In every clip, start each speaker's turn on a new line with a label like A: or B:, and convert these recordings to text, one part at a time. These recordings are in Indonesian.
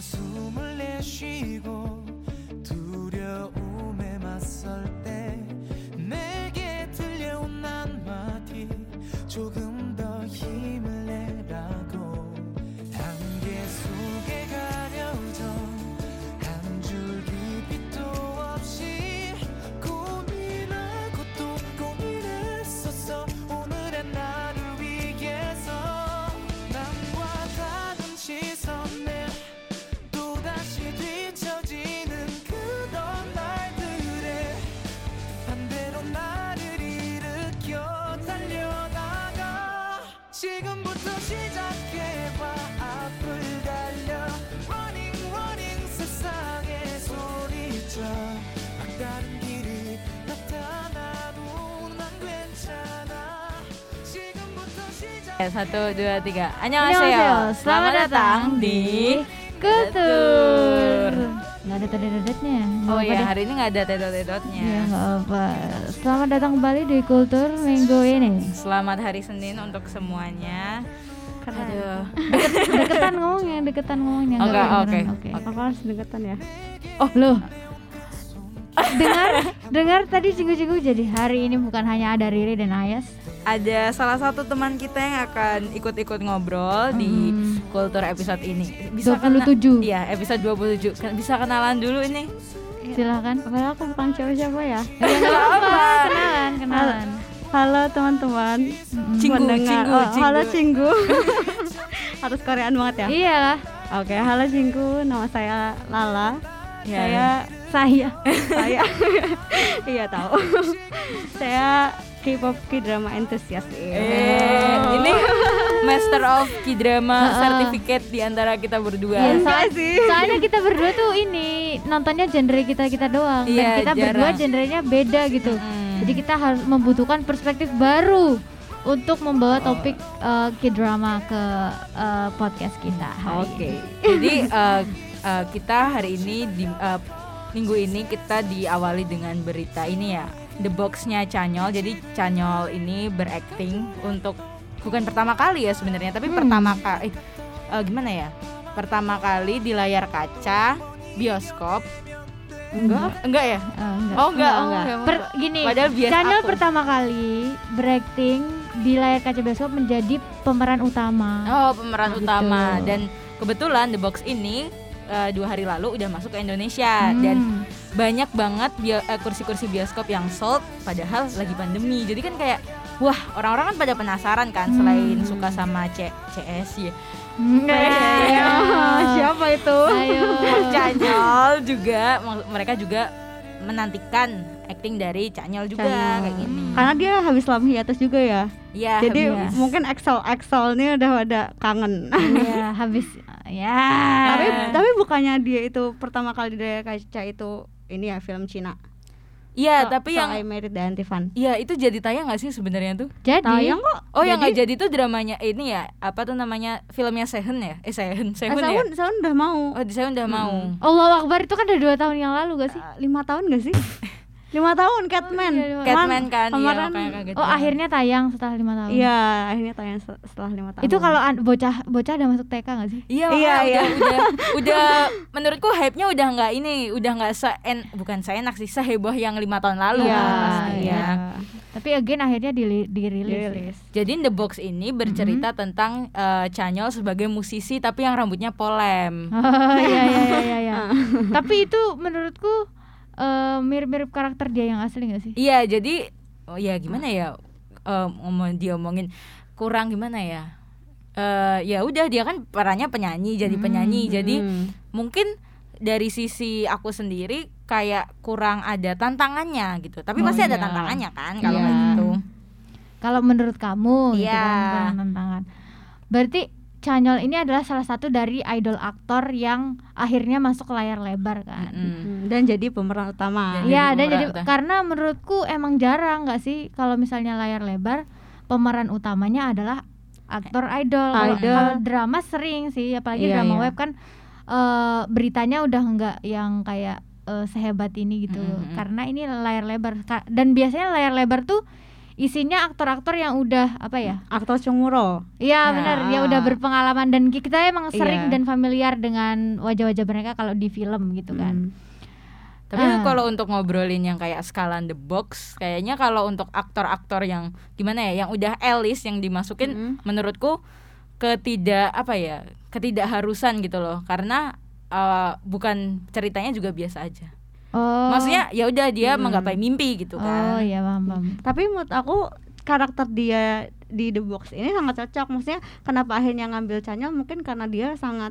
A: 숨을 내쉬고 두려움에 맞설 때 내게 들려온 한마디 조금 더 힘을 내라고 단계 속에 가려던 한 줄기 빛도 없이 고민하고 또 고민했었어 오늘의 나를 위해서 남과 다른 시선에 또다시 뒤처지는 그런 날들에 반대로 나를 일으켜 달려나가 지금부터 시작해봐 앞을 달려 Running Running 세상에 소리쳐 막다른 길이 나타나도 난 괜찮아 지금부터 시작
B: Ya, Satu, dua, tiga.
C: Annyeonghaseyo.
B: Annyeonghaseyo.
C: Selamat datang di Kutur.
B: Kutur.
C: Nggak ada tadi dedetnya.
B: Oh iya, hari ini nggak ada tedot-tedotnya.
C: Ya, nggak apa. Selamat datang kembali di Kultur minggu ini.
B: Selamat hari Senin untuk semuanya. Aduh.
C: Deketan ngomongnya, deketan ngomongnya.
B: Oh, nggak,
C: kedengeran.
B: oke, oke.
D: Aku harus deketan ya.
C: Oh, loh. dengar, dengar tadi cinggu-cinggu jadi hari ini bukan hanya ada Riri dan Ayas.
B: Ada salah satu teman kita yang akan ikut-ikut ngobrol di
C: Hmm.
B: kultur episode ini.
C: 27.
B: Iya, episode 27. Kan- Bisa kenalan dulu ini. Iya,
C: Silakan.
D: Padahal aku bukan siapa-siapa ya.
C: Iya, Kenalan, kenalan.
D: Halo teman-teman.
B: Cinggu,
D: Pendengar.
B: cinggu,
D: Oh,
B: cinggu.
D: Halo Cinggu. harus Korean banget ya.
C: Iya lah.
D: Oke, halo Cinggu. Nama saya Lala.
B: Ya.
D: Saya saya saya. iya tahu. saya K-pop K-drama enthusiast. Iya.
B: Eh, ini Master of K-drama certificate di antara kita berdua.
C: Iya,
D: Enggak
C: soal-
D: sih.
C: soalnya kita berdua tuh ini nontonnya genre kita kita doang dan
B: Iya,
C: kita berdua
B: jarang.
C: genrenya beda gitu.
B: Mm-mm.
C: Jadi kita harus membutuhkan perspektif baru untuk membawa topik eh, K-drama ke eh, podcast kita. hari
B: Oke.
C: ini.
B: Jadi eh, eh, kita hari ini di eh, minggu ini kita diawali dengan berita ini ya. The Box-nya Chanyol. Jadi Chanyol ini berakting untuk bukan pertama kali ya sebenarnya, tapi
C: Hmm.
B: pertama kali eh, eh, gimana ya? Pertama kali di layar kaca bioskop. Enggak, enggak ya?
C: Eh, enggak.
B: Oh, enggak, oh,
C: enggak.
B: enggak.
C: Per- gini,
B: Padahal bias
C: Channel
B: aku.
C: pertama kali berakting di layar kaca bioskop menjadi pemeran utama.
B: Oh, pemeran
C: Gitu.
B: utama dan kebetulan The Box ini eh, dua hari lalu udah masuk ke Indonesia iya,
C: Hmm.
B: dan banyak banget bio- eh, kursi-kursi bioskop yang sold padahal lagi pandemi jadi kan kayak wah orang-orang kan pada penasaran kan selain
C: Hmm.
B: suka sama C CS ya
C: Ayo.
D: Ah, siapa itu?
C: Ayo.
D: Hmm.
B: Canyol juga mak- mereka juga menantikan acting dari Canyol juga
D: Canyol.
B: kayak gini
D: Karena dia habis lama hiatus juga ya.
B: ya
D: Jadi
B: habis.
D: mungkin Excel Excelnya udah pada kangen.
C: Iya, habis ya.
D: tapi
B: Nah.
D: tapi bukannya dia itu pertama kali di layar kaca itu ini ya film Cina.
B: Iya,
D: So-
B: tapi
D: So
B: yang
D: I Married the Antifan.
B: Iya itu jadi tayang gak sih sebenarnya tuh?
C: Jadi
D: Tayang kok.
B: Oh yang nggak jadi tuh dramanya ini ya apa tuh namanya filmnya Sehun ya? Eh Sehun Sehun ya?
D: Sahun Sahun udah mau.
B: Oh di Sehun
D: Hmm.
B: udah mau.
C: Allah Akbar itu kan udah dua tahun yang lalu gak sih?
D: Eh, lima tahun gak sih? lima tahun Catman.
C: iya, lima-
B: Catman kan, iya,
D: Kemarin,
B: makanya kaget
C: Oh
B: banget.
C: akhirnya tayang setelah lima tahun.
D: Iya, akhirnya tayang se- setelah lima tahun.
C: Itu kalau an- bocah bocah udah masuk TK gak sih?
B: Iya,
D: Iya,
B: iya,
D: iya.
B: udah, udah, menurutku hype-nya udah nggak ini, udah nggak seen, bukan seenak sih, seheboh yang lima tahun lalu.
D: Iya,
B: kan pasti
D: iya.
B: ya.
C: Ah, Tapi again akhirnya dili- dirilis.
D: Dirilis.
B: Jadi The Box ini bercerita
D: Mm-hmm.
B: tentang eh, Chanyol sebagai musisi tapi yang rambutnya polem.
C: Oh iya iya iya iya. iya.
D: Ah.
C: Tapi itu menurutku eh, mirip-mirip karakter dia yang asli gak sih?
B: Iya, jadi oh ya gimana ya eh, ngomong dia omongin kurang gimana ya? Eh ya udah dia kan perannya penyanyi, jadi penyanyi. Jadi
D: Hmm.
B: mungkin dari sisi aku sendiri kayak kurang ada tantangannya gitu. Tapi
D: Oh,
B: pasti ada
D: iya.
B: tantangannya kan kalau
D: Iya.
B: kayak gitu.
C: Kalau menurut kamu gitu
B: Iya.
C: kan, kurang tantangan. Berarti Chanyol ini adalah salah satu dari idol aktor yang akhirnya masuk ke layar lebar kan.
B: Mm.
D: Hmm, Dan jadi pemeran utama.
B: Jadi
C: Iya, dan
B: pemeran
C: jadi
B: utama.
C: karena menurutku emang jarang nggak sih kalau misalnya layar lebar pemeran utamanya adalah aktor idol. Kalau-
D: Idol.
C: Kalau drama sering sih, apalagi
D: Iya,
C: drama
D: iya.
C: web kan eh, beritanya udah nggak yang kayak eh, sehebat ini gitu.
B: Mm, mm, mm.
C: Karena ini layar lebar Ka- dan biasanya layar lebar tuh isinya aktor-aktor yang udah apa ya?
D: aktor cemuro
C: Iya
B: Ya.
C: benar, dia udah berpengalaman dan ki- kita emang sering
D: Iya.
C: dan familiar dengan wajah-wajah mereka kalau di film gitu
D: Hmm.
C: kan.
B: Tapi
C: Ah.
B: kalau untuk ngobrolin yang kayak skalan The Box, kayaknya kalau untuk aktor-aktor yang gimana ya, yang udah elis yang dimasukin menurutku ketidak apa ya? Ketidakharusan gitu loh. Karena eh, bukan ceritanya juga biasa aja.
C: Oh.
B: Maksudnya ya udah dia menggapai mimpi gitu
C: Oh
B: kan.
C: iya paham, paham.
D: tapi menurut aku karakter dia di The Box ini sangat cocok maksudnya kenapa akhirnya ngambil Chanyeol mungkin karena dia sangat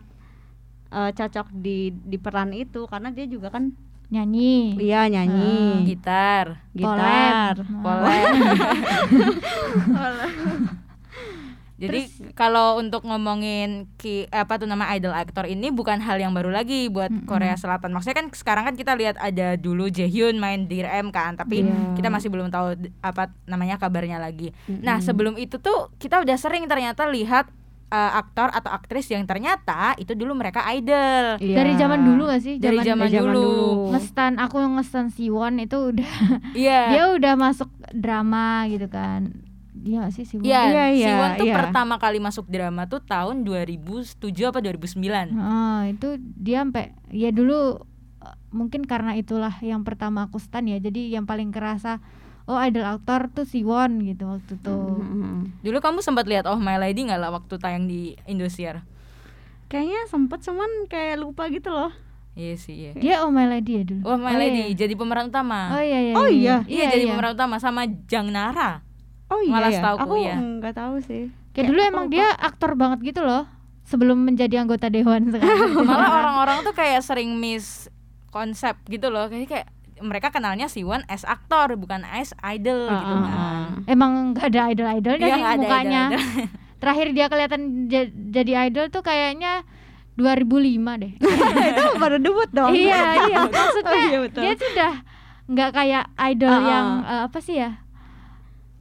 D: eh, cocok di di peran itu karena dia juga kan
C: Nyanyi. Ah, gitu. Nah.
D: dia nyanyi
B: Iya, Gitar, gitu.
D: gitar
C: Oh.
B: polen. Jadi kalau untuk ngomongin ki, apa tuh nama idol aktor ini bukan hal yang baru lagi buat Korea Selatan. Maksudnya kan sekarang kan kita lihat ada dulu Jaehyun main Dear M kan, tapi
D: Iya.
B: kita masih belum tahu d- apa namanya kabarnya lagi. Nah, sebelum itu tuh kita udah sering ternyata lihat eh, aktor atau aktris yang ternyata itu dulu mereka idol.
D: Iya.
C: Dari zaman dulu gak sih?
B: Dari zaman,
D: dari zaman
B: dulu.
D: dulu.
C: ngestan aku yang ngestan Siwon itu udah dia
B: Iya.
C: udah masuk drama gitu kan. Iya gak sih Siwon?
B: Iya,
D: Iya, iya,
B: Siwon tuh
D: iya.
B: pertama kali masuk drama tuh tahun 2007 apa
D: Hmm.
B: 2009.
C: Heeh, itu dia sampai ya dulu eh, mungkin karena itulah yang pertama aku stan ya. Jadi yang paling kerasa oh idol aktor tuh Siwon gitu waktu itu.
B: Mm-hmm.
D: Mm-mm.
B: Dulu kamu sempat lihat Oh My Lady nggak lah waktu tayang di Indosiar?
D: kayaknya sempet cuman kayak lupa gitu loh
B: Iya sih, iya.
C: Dia Oh My Lady ya dulu.
B: Oh My
C: iya.
B: Lady jadi pemeran utama.
C: Oh iya iya.
D: Oh, iya.
B: iya, jadi pemeran utama sama Jang Nara.
D: oh iya
B: Malah
D: ya,
B: setahuku,
D: aku
B: iya.
D: nggak tahu sih
C: Kayak dulu emang dia aktor banget gitu loh sebelum menjadi anggota dewan sekarang.
B: Malah orang-orang tuh kayak sering miss konsep gitu loh. Kayak kayak mereka kenalnya Siwon as aktor bukan as idol gitu
D: Ah, ah,
B: kan.
D: ah.
C: emang nggak ada idol-idolnya
B: Iya,
C: sih
B: nggak ada
C: mukanya.
B: idol-idol.
C: Terakhir dia kelihatan ja- jadi idol tuh kayaknya 2005 deh.
D: itu baru debut dong
C: iya, iya. Maksudnya
D: Oh, iya, betul.
C: dia sudah nggak kayak idol
D: Ah, ah.
C: yang eh, apa sih ya?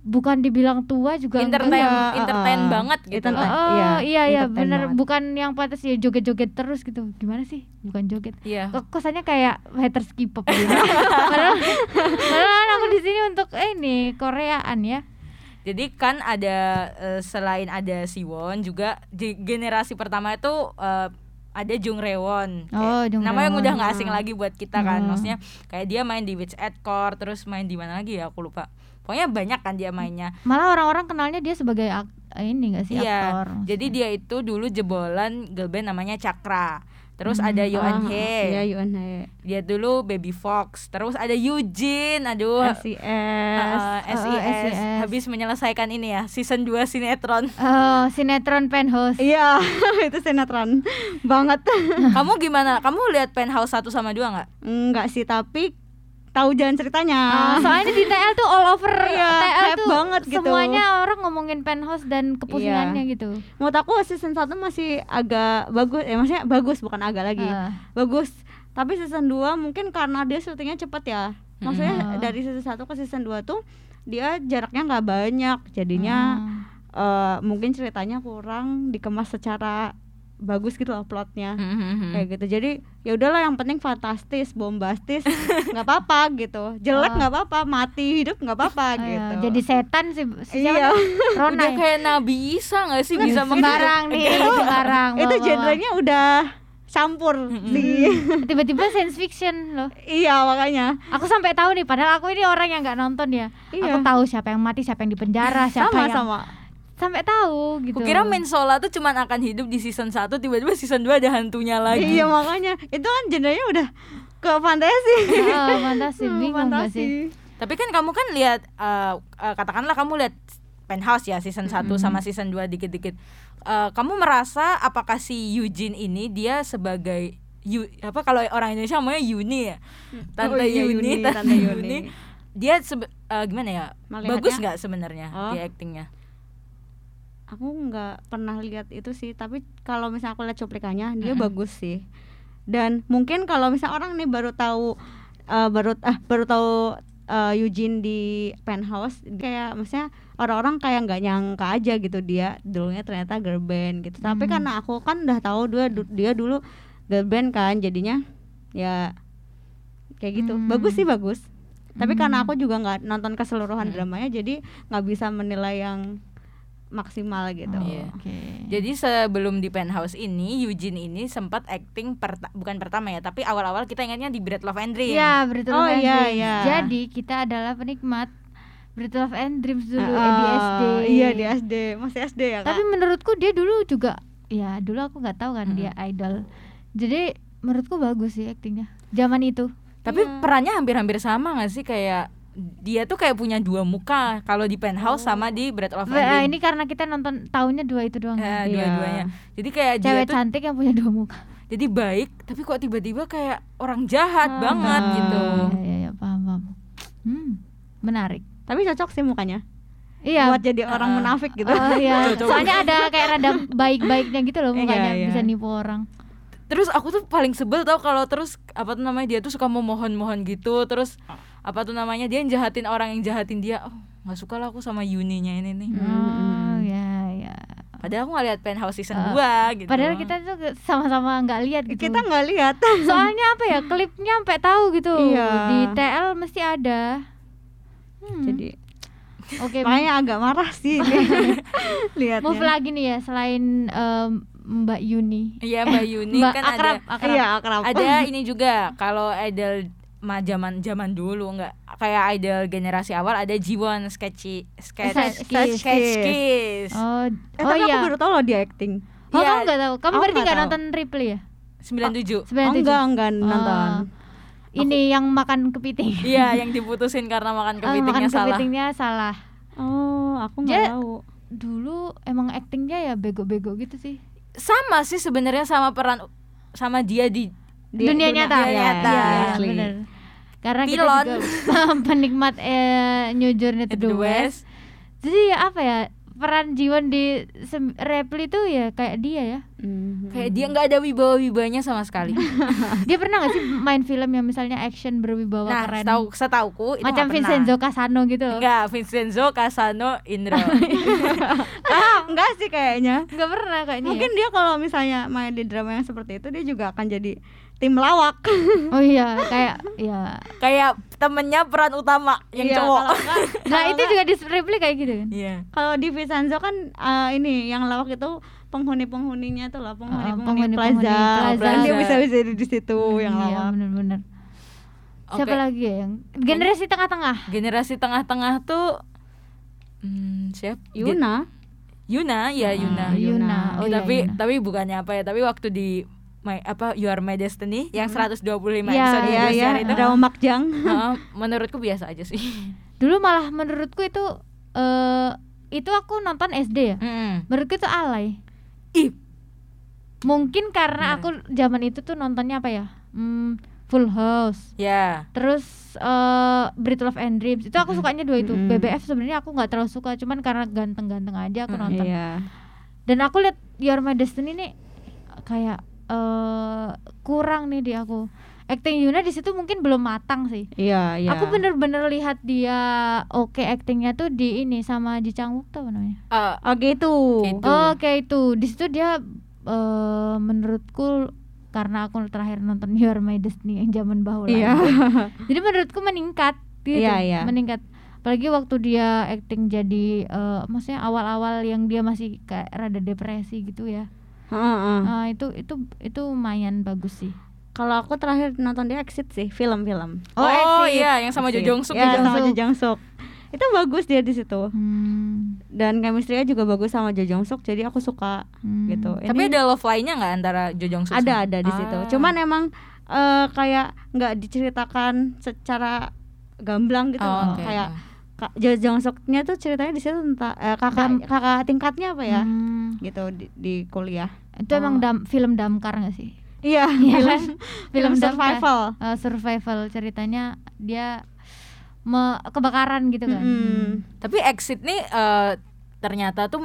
C: Bukan dibilang tua juga nggak.
B: Entertain,
D: Iya, ah,
B: entertain
D: ah.
B: banget gitu.
C: Oh,
D: Entertain.
B: loh.
C: oh,
D: Iya,
C: iya iya
D: entertain
C: bener
D: banget.
C: bukan yang pantas ya joget-joget terus gitu gimana sih bukan joget
B: Iya.
D: Ah.
C: kok kesannya kayak haters K-pop gitu padahal, padahal aku di sini untuk eh, ini Koreaan ya
B: Jadi kan ada eh, selain ada Siwon juga di generasi pertama itu eh, ada Jung Rewon.
C: Oh, Jung
B: nama yang
C: Rewon.
B: udah nggak asing lagi buat kita kan.
C: Hmm.
B: Maksudnya kayak dia main di Witch at Core, terus main di mana lagi ya aku lupa. Pokoknya banyak kan dia mainnya.
C: malah orang-orang kenalnya dia sebagai ak- ini gak sih
B: Iya.
C: aktor
B: Jadi dia itu dulu jebolan girl band namanya Cakra. Terus
C: Hmm.
B: ada Yoon
D: Ah,
B: Hye.
D: iya Yoon Hye
B: Dia dulu Baby Fox. Terus ada Eugene. Aduh.
D: SCS
B: Ah, ah, SIS.
C: Oh, SIS.
B: habis menyelesaikan ini ya season 2 sinetron.
C: Oh, sinetron penthouse
D: Iya, itu sinetron banget.
B: Kamu gimana? Kamu lihat penthouse 1 sama 2 nggak?
D: Enggak sih, tapi tahu jalan ceritanya.
C: Ah, soalnya di TL tuh all over
D: Iya,
C: TL
D: hype
C: tuh
D: banget gitu. Iya.
C: semuanya orang ngomongin penthouse dan kepusingannya gitu
D: Menurut aku season 1 masih agak bagus, eh maksudnya bagus bukan agak lagi.
C: Ah.
D: Bagus. Tapi season 2 mungkin karena dia syutingnya cepat ya. Maksudnya
C: Hmm.
D: dari season 1 ke season 2 tuh dia jaraknya nggak banyak. Jadinya
C: Ah.
D: eh, mungkin ceritanya kurang dikemas secara bagus gitu loh plotnya. kayak gitu jadi ya udahlah yang penting fantastis bombastis nggak apa-apa gitu jelek nggak apa-apa mati hidup nggak apa-apa
C: Ah, Oh. iya.
D: gitu
C: jadi setan sih si siapa
D: Iya.
C: tuh? Rona
B: Udah
C: ya?
B: kayak Nabi Isa nggak sih
C: Iya,
B: bisa
C: sembarang nih
B: Iya.
C: sembarang
D: itu
C: Wah, wah,
D: genrenya udah campur sih
C: wah. tiba-tiba science fiction loh
D: iya makanya
C: aku sampai tahu nih padahal aku ini orang yang nggak nonton ya
D: Iya.
C: aku tahu siapa yang mati siapa yang di penjara siapa
D: sama
C: yang
D: sama
C: sampai tahu gitu
B: Kukira Mensola tuh cuman akan hidup di season 1 tiba-tiba season 2 ada hantunya lagi.
D: iya makanya itu kan genrenya udah ke fantasi
C: oh, fantasi
D: Hmm,
C: bingung nggak sih
B: Tapi kan kamu kan lihat eh, eh, katakanlah kamu lihat penthouse ya season 1 sama season 2 dikit-dikit. Eh, kamu merasa apakah si Eugene ini dia sebagai Yu- apa kalau orang Indonesia namanya Yuni ya? Tante
D: Oh, iya,
B: Yuni,
D: Yuni,
B: Tante,
D: Tante
B: Yuni.
D: Yuni.
B: Dia sebe- eh, gimana ya?
D: Melihatnya-
B: Bagus nggak sebenarnya
D: Oh.
B: dia actingnya?
D: aku nggak pernah lihat itu sih tapi kalau misalnya aku lihat cuplikannya dia bagus sih dan mungkin kalau misalnya orang nih baru tahu eh, baru ah baru tahu eh, Eugene di penthouse kayak maksudnya orang-orang kayak nggak nyangka aja gitu dia dulunya ternyata girl band gitu tapi karena aku kan udah tahu dia du- dia dulu girl band kan jadinya ya kayak gitu bagus sih bagus tapi karena
C: Hmm.
D: aku juga nggak nonton
B: Hmm.
D: keseluruhan dramanya jadi nggak bisa menilai yang maksimal gitu
C: Oh,
B: Iya.
C: Oke.
B: Jadi sebelum di penthouse ini Eugene ini sempat acting perta- bukan pertama ya, tapi awal-awal kita ingatnya di Bread Love and Dream.
C: Iya, Brittle
D: Oh,
C: Love and
D: iya,
C: Dreams.
D: iya.
C: Jadi kita adalah penikmat Brittle Love and Dreams dulu
D: Eh,
C: eh, di
D: eh,
C: SD.
D: iya di SD masih SD ya kak
C: Tapi menurutku dia dulu juga ya dulu aku nggak tahu kan
B: Mm-mm.
C: dia
D: Hmm.
C: idol. Jadi menurutku bagus sih aktingnya. Zaman itu.
B: Tapi
D: Iya.
B: perannya hampir-hampir sama gak sih kayak dia tuh kayak punya dua muka kalau di penthouse sama di Bread Love and
C: Ba-
B: Dream.
C: Oh. Nah, eh, ini karena kita nonton tahunnya dua itu doang.
B: Eh,
C: ya.
D: Iya.
B: dua-duanya. Jadi
D: Eh,
B: kayak dia
C: Cewek
B: tuh
C: cantik yang punya dua muka.
B: jadi baik, tapi kok tiba-tiba kayak orang jahat
D: Ah.
B: banget gitu.
C: Iya, iya, iya, paham, paham. Hmm, menarik.
D: tapi cocok sih mukanya
C: Iya.
D: buat jadi orang
B: Ah.
D: munafik gitu
C: Oh iya.
B: Cocok.
C: Soalnya ada kayak rada baik-baiknya gitu loh
D: Iya,
C: mukanya
D: iya.
C: bisa nipu orang.
B: Terus aku tuh paling sebel tau kalau terus apa tuh namanya dia tuh suka memohon-mohon gitu, terus apa tuh namanya dia jahatin orang yang jahatin dia. Oh, nggak suka lah aku sama Yuninya ini nih.
D: Hmm.
C: Oh iya, iya.
B: Padahal aku gak lihat penthouse season
C: Eh,
B: 2 gitu.
C: Padahal kita tuh sama-sama nggak lihat gitu.
D: kita nggak lihat
C: Soalnya apa ya klipnya sampai tahu gitu.
D: Iya.
C: Di TL mesti ada. Hmm.
D: jadi
C: oke.
D: makanya agak marah sih lihat
C: move lagi nih ya selain em, Mbak Yuni.
B: Iya Mbak Yuni
C: Mbak
B: kan
C: akrab,
B: ada
C: akrab.
D: iya akrab
B: ada ini juga kalau idol ma zaman zaman dulu nggak kayak idol generasi awal ada Jiwon sketchy sketch
C: Sketch Kiss.
B: sketch kiss
C: Oh,
D: eh
C: oh
D: tapi
C: iya.
D: aku baru tau loh dia acting
C: Oh,
B: Iya.
C: kamu nggak tahu. Kamu
D: Aku
C: berarti
D: nggak
C: nggak
D: tahu.
C: nonton Ripley ya?
B: 97
D: oh,
C: 97.
D: enggak enggak
C: Oh.
D: nonton
C: Ini yang makan kepiting.
B: iya yang diputusin karena makan
C: Eh, makan
B: kepitingnya salah
C: kepitingnya salah.
D: oh aku
C: Dia-
D: nggak tahu
C: Dulu emang aktingnya ya bego-bego gitu sih.
B: sama sih sebenarnya sama peran sama dia di
D: Dia-
C: dunia
D: dunia-
C: nyata.
B: dunia nyata.
C: Iya,
D: Asli.
C: benar. Karena
B: Pilon.
C: kita juga penikmat eh, New Journey to
B: At
C: the West. Jadi ya apa ya peran Jiwon di sem- Reply itu ya kayak dia ya.
D: Mhm.
B: kayak dia nggak ada wibawa wibanya sama sekali
C: Dia pernah gak sih main film yang misalnya action berwibawa
B: nah
C: keren?
B: setahu setauku itu nggak
C: Macam
B: pernah.
C: Vincenzo Casano gitu loh.
B: Enggak, Vincenzo Casano Indro
D: ah enggak sih kayaknya
C: Nggak pernah kayaknya. ya.
D: mungkin dia kalau misalnya main di drama yang seperti itu dia juga akan jadi tim lawak
C: ya? Oh iya, kayak ya.
B: kayak temennya peran utama yang
D: Iya,
B: cowok
D: kalau enggak-
C: Nah,
D: kalau
C: itu juga di Reply kayak gitu kan.
B: iya
D: Kalau di Vincenzo kan eh, ini yang lawak itu penghuni-penghuninya tuh lah penghuni-penghuni
C: penghuni-penghuni
D: Oh, plaza. Hmm,
C: plaza.
D: Kan Dia
B: Plaza.
D: bisa bisa jadi di situ yang
C: Iya,
D: lawak.
C: benar-benar. Siapa
B: Oke.
C: lagi ya yang generasi tengah-tengah?
B: generasi tengah-tengah tuh hmm, siap Ge-
D: Yuna.
B: Yuna ya Yuna
C: Ah, Yuna. Oh iya.
B: tapi
C: Yuna.
B: tapi bukannya apa ya tapi waktu di my apa You Are My Destiny yang 125
C: Iya,
B: episode di
D: Iya
B: Indosiar
D: iya
B: itu
D: drama Makjang.
B: heeh, menurutku biasa aja sih
C: Dulu malah menurutku itu eh itu aku nonton SD ya.
D: Hmm.
B: Mm.
C: Menurutku itu alay.
B: ih
C: Mungkin
B: Bener.
C: karena aku zaman itu tuh nontonnya apa ya? Hmm, Full House.
B: ya
C: Terus eh Breath Love and Dreams. Itu aku
B: Mm-mm.
D: Hmm.
C: sukanya dua itu.
D: Mm-mm.
C: BBF sebenarnya aku nggak terlalu suka, cuman karena ganteng-ganteng aja aku
B: Mm-mm.
C: nonton.
D: Iya.
C: Dan aku lihat Your My Destiny nih kayak eh kurang nih di aku. Acting Yuna di situ mungkin belum matang sih.
D: Iya iya.
C: Aku bener-bener lihat dia oke actingnya tuh di ini sama Ji Chang Wook tuh apa namanya.
B: eh,
D: Oke itu.
B: Gitu.
C: Oh, Oke itu di situ dia eh, menurutku karena aku terakhir nonton Your My Destiny yang zaman bahula.
D: Iya.
C: itu. Jadi menurutku meningkat gitu.
D: Iya, iya.
C: Meningkat. Apalagi waktu dia acting jadi eh, maksudnya awal-awal yang dia masih kayak rada depresi gitu ya.
D: Heeh.
C: Ah, itu itu itu lumayan bagus sih.
D: Kalau aku terakhir nonton dia Exit sih, film-film.
B: oh,
C: Exit.
B: iya yang sama Jo
D: Exit.
B: Jong Suk
D: Iya,
C: Jo
B: itu.
D: sama
C: Jong
D: Jo
C: Suk.
D: Jong Suk. Itu bagus dia di situ.
C: Hmm,
D: Dan chemistry-nya juga bagus sama Jo Jong Suk, jadi aku suka
C: hmm.
D: gitu.
B: tapi
D: Ini-
B: ada love line-nya nggak antara Jo Jong Suk
D: ada
B: sama-
D: ada di situ
B: Ah.
D: cuman emang eh, kayak nggak diceritakan secara gamblang gitu
B: Oh,
D: loh.
B: oke.
D: kayak Ka- Jo Jong Suknya tuh ceritanya di situ tentang eh,
C: Gam-
D: kakak kakak tingkatnya apa ya
C: Hmm.
D: gitu di, di kuliah
C: Itu emang dam- film damkar gak sih?
D: iya
C: Iya
D: film,
C: kan?
D: film
C: Film damkar.
D: survival
C: Eh, survival ceritanya dia me- kebakaran gitu kan.
D: Mm-mm.
B: Tapi Exit nih eh, ternyata tuh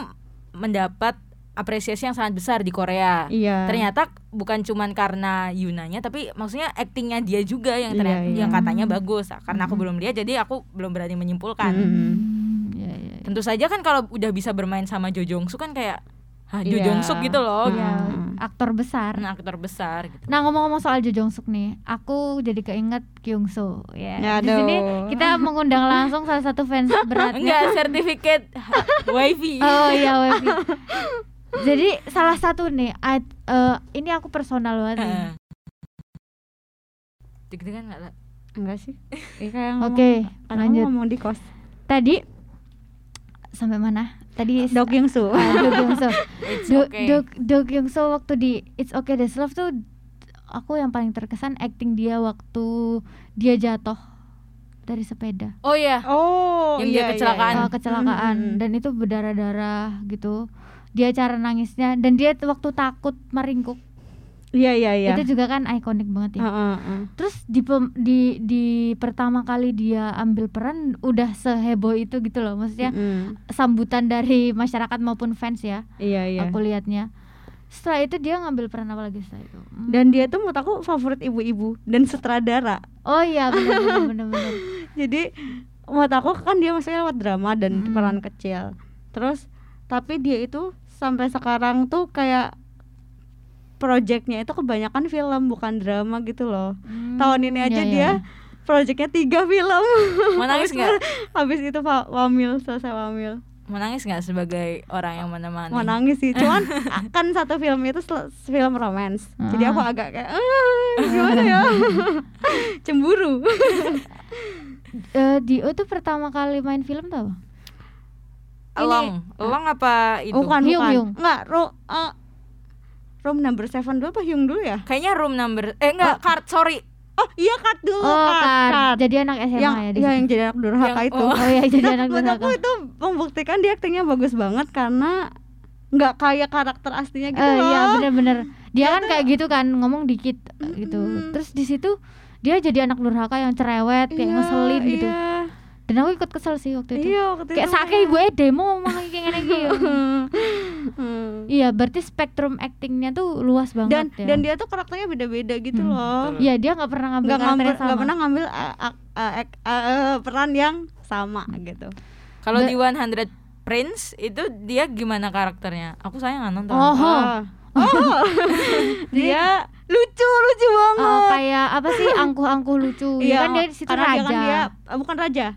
B: mendapat apresiasi yang sangat besar di Korea.
D: iya
B: Ternyata bukan cuman karena Yunanya tapi maksudnya actingnya dia juga yang ternyata,
D: Iya, iya.
B: yang katanya bagus. Karena aku belum lihat jadi aku belum berani menyimpulkan.
D: Mm-mm.
C: Hmm, ya, ya,
B: Iya.
C: ya.
B: Tentu saja kan kalau udah bisa bermain sama Jo Jong Suk kan kayak Hah, Jo
D: Iya.
B: Jong Suk gitu loh.
D: Iya.
C: Hmm. aktor besar.
B: Nah, aktor besar gitu.
C: Nah ngomong-ngomong soal Jo Jong Suk nih, aku jadi keinget Kyung Soo. Ya.
D: Ya,
C: Di sini
D: aduh.
C: kita mengundang langsung salah satu fans beratnya.
D: nah.
B: Enggak, sertifikat wifi.
C: Oh iya Wevi. Jadi salah satu nih, ad- eh, ini aku personal banget.
D: iya.
C: nih.
B: Heeh. Deg-degan nggak lah?
D: Enggak sih. Ini kayak
C: Oke,
D: ngomong- karena aku
C: lanjut.
D: ngomong di kos.
C: Tadi sampai mana? Tadi
D: Dok Yang Su.
C: Ah, Do Kyung Soo.
B: It's
C: Do,
B: okay.
C: Do, Do Kyung Soo waktu di It's Okay This Love tuh aku yang paling terkesan acting dia waktu dia jatuh dari sepeda.
B: Oh iya.
D: Oh,
B: Yang dia kecelakaan.
C: Oh, kecelakaan
D: Mm-mm.
C: dan itu berdarah-darah gitu. Dia cara nangisnya dan dia tuh waktu takut meringkuk.
D: Iya, iya, iya. Ah.
C: Itu juga kan ikonik banget ya.
D: Heeh, heeh.
C: Terus di, pem- di di pertama kali dia ambil peran udah seheboh itu gitu loh. Maksudnya
D: Mm-mm.
C: sambutan dari masyarakat maupun fans ya.
D: Iya, iya.
C: Aku lihatnya. Setelah itu dia ngambil peran apa lagi setelah itu? Hmm.
D: Dan dia tuh menurut aku favorit ibu-ibu dan sutradara.
C: Oh iya benar benar
D: Jadi menurut aku kan dia maksudnya lewat drama dan
C: Mm.
D: peran kecil. Terus tapi dia itu sampai sekarang tuh kayak projectnya itu kebanyakan film bukan drama gitu loh.
C: Hmm,
D: Tahun ini
C: iya,
D: aja dia projectnya tiga film.
B: Mau nangis nggak?
D: Habis itu fa- wamil selesai wamil.
B: Mau nangis nggak sebagai orang yang menemani?
D: Mau nangis sih, cuman kan satu film itu sel- film romance. Jadi aku
C: Ah.
D: agak kayak "Ah, gimana ya? Cemburu.
C: Eh, Dio tuh pertama kali main film tau?
B: Elong, elong apa itu?
D: Bukan,
C: Hyung,
D: bukan.
C: Hyung.
D: Enggak, ro, eh, room number seven dulu apa Hyung dulu ya?
B: Kayaknya room number eh enggak card sorry.
D: Oh iya kart dulu
C: Oh
D: Kak,
C: kan,
D: Kak.
C: jadi anak SMA
D: yang,
C: ya di
D: iya,
C: situ.
D: yang jadi anak durhaka
B: Yang-
D: itu
B: oh.
C: Oh iya jadi anak
D: Menurut
C: durhaka.
D: aku itu membuktikan dia aktingnya bagus banget karena nggak kayak karakter aslinya gitu
C: Eh,
D: loh
C: iya benar-benar. Dia kan kayak gitu kan ngomong dikit eh, gitu.
D: Mm-mm.
C: Terus di situ dia jadi anak durhaka yang cerewet, kayak
D: Iya,
C: ngeselin gitu.
D: iya,
C: Dan aku ikut kesel sih waktu itu.
D: iya waktu
C: Kayak
D: itu
C: sake ibu eh demo ngomong kayak gini iki.
D: Hmm.
C: Iya, berarti spektrum actingnya tuh luas banget
D: dan
C: ya.
D: dan dia tuh karakternya beda-beda gitu
C: Hmm.
D: loh
C: Iya, dia nggak pernah ngambil
D: nggak
C: karakter
D: ngambil
C: yang sama.
D: nggak pernah ngambil eh, ak- eh, ek- eh, eh, peran yang sama gitu
B: Kalau
C: Ba-
B: di 100 Prince itu dia gimana karakternya? Aku sayang nggak nonton.
C: Oh.
D: Ah. oh dia lucu lucu
C: Oh,
D: banget
C: kayak apa sih angkuh-angkuh lucu. Iya kan dia di situ
D: karena
C: raja.
D: dia kan dia eh, bukan raja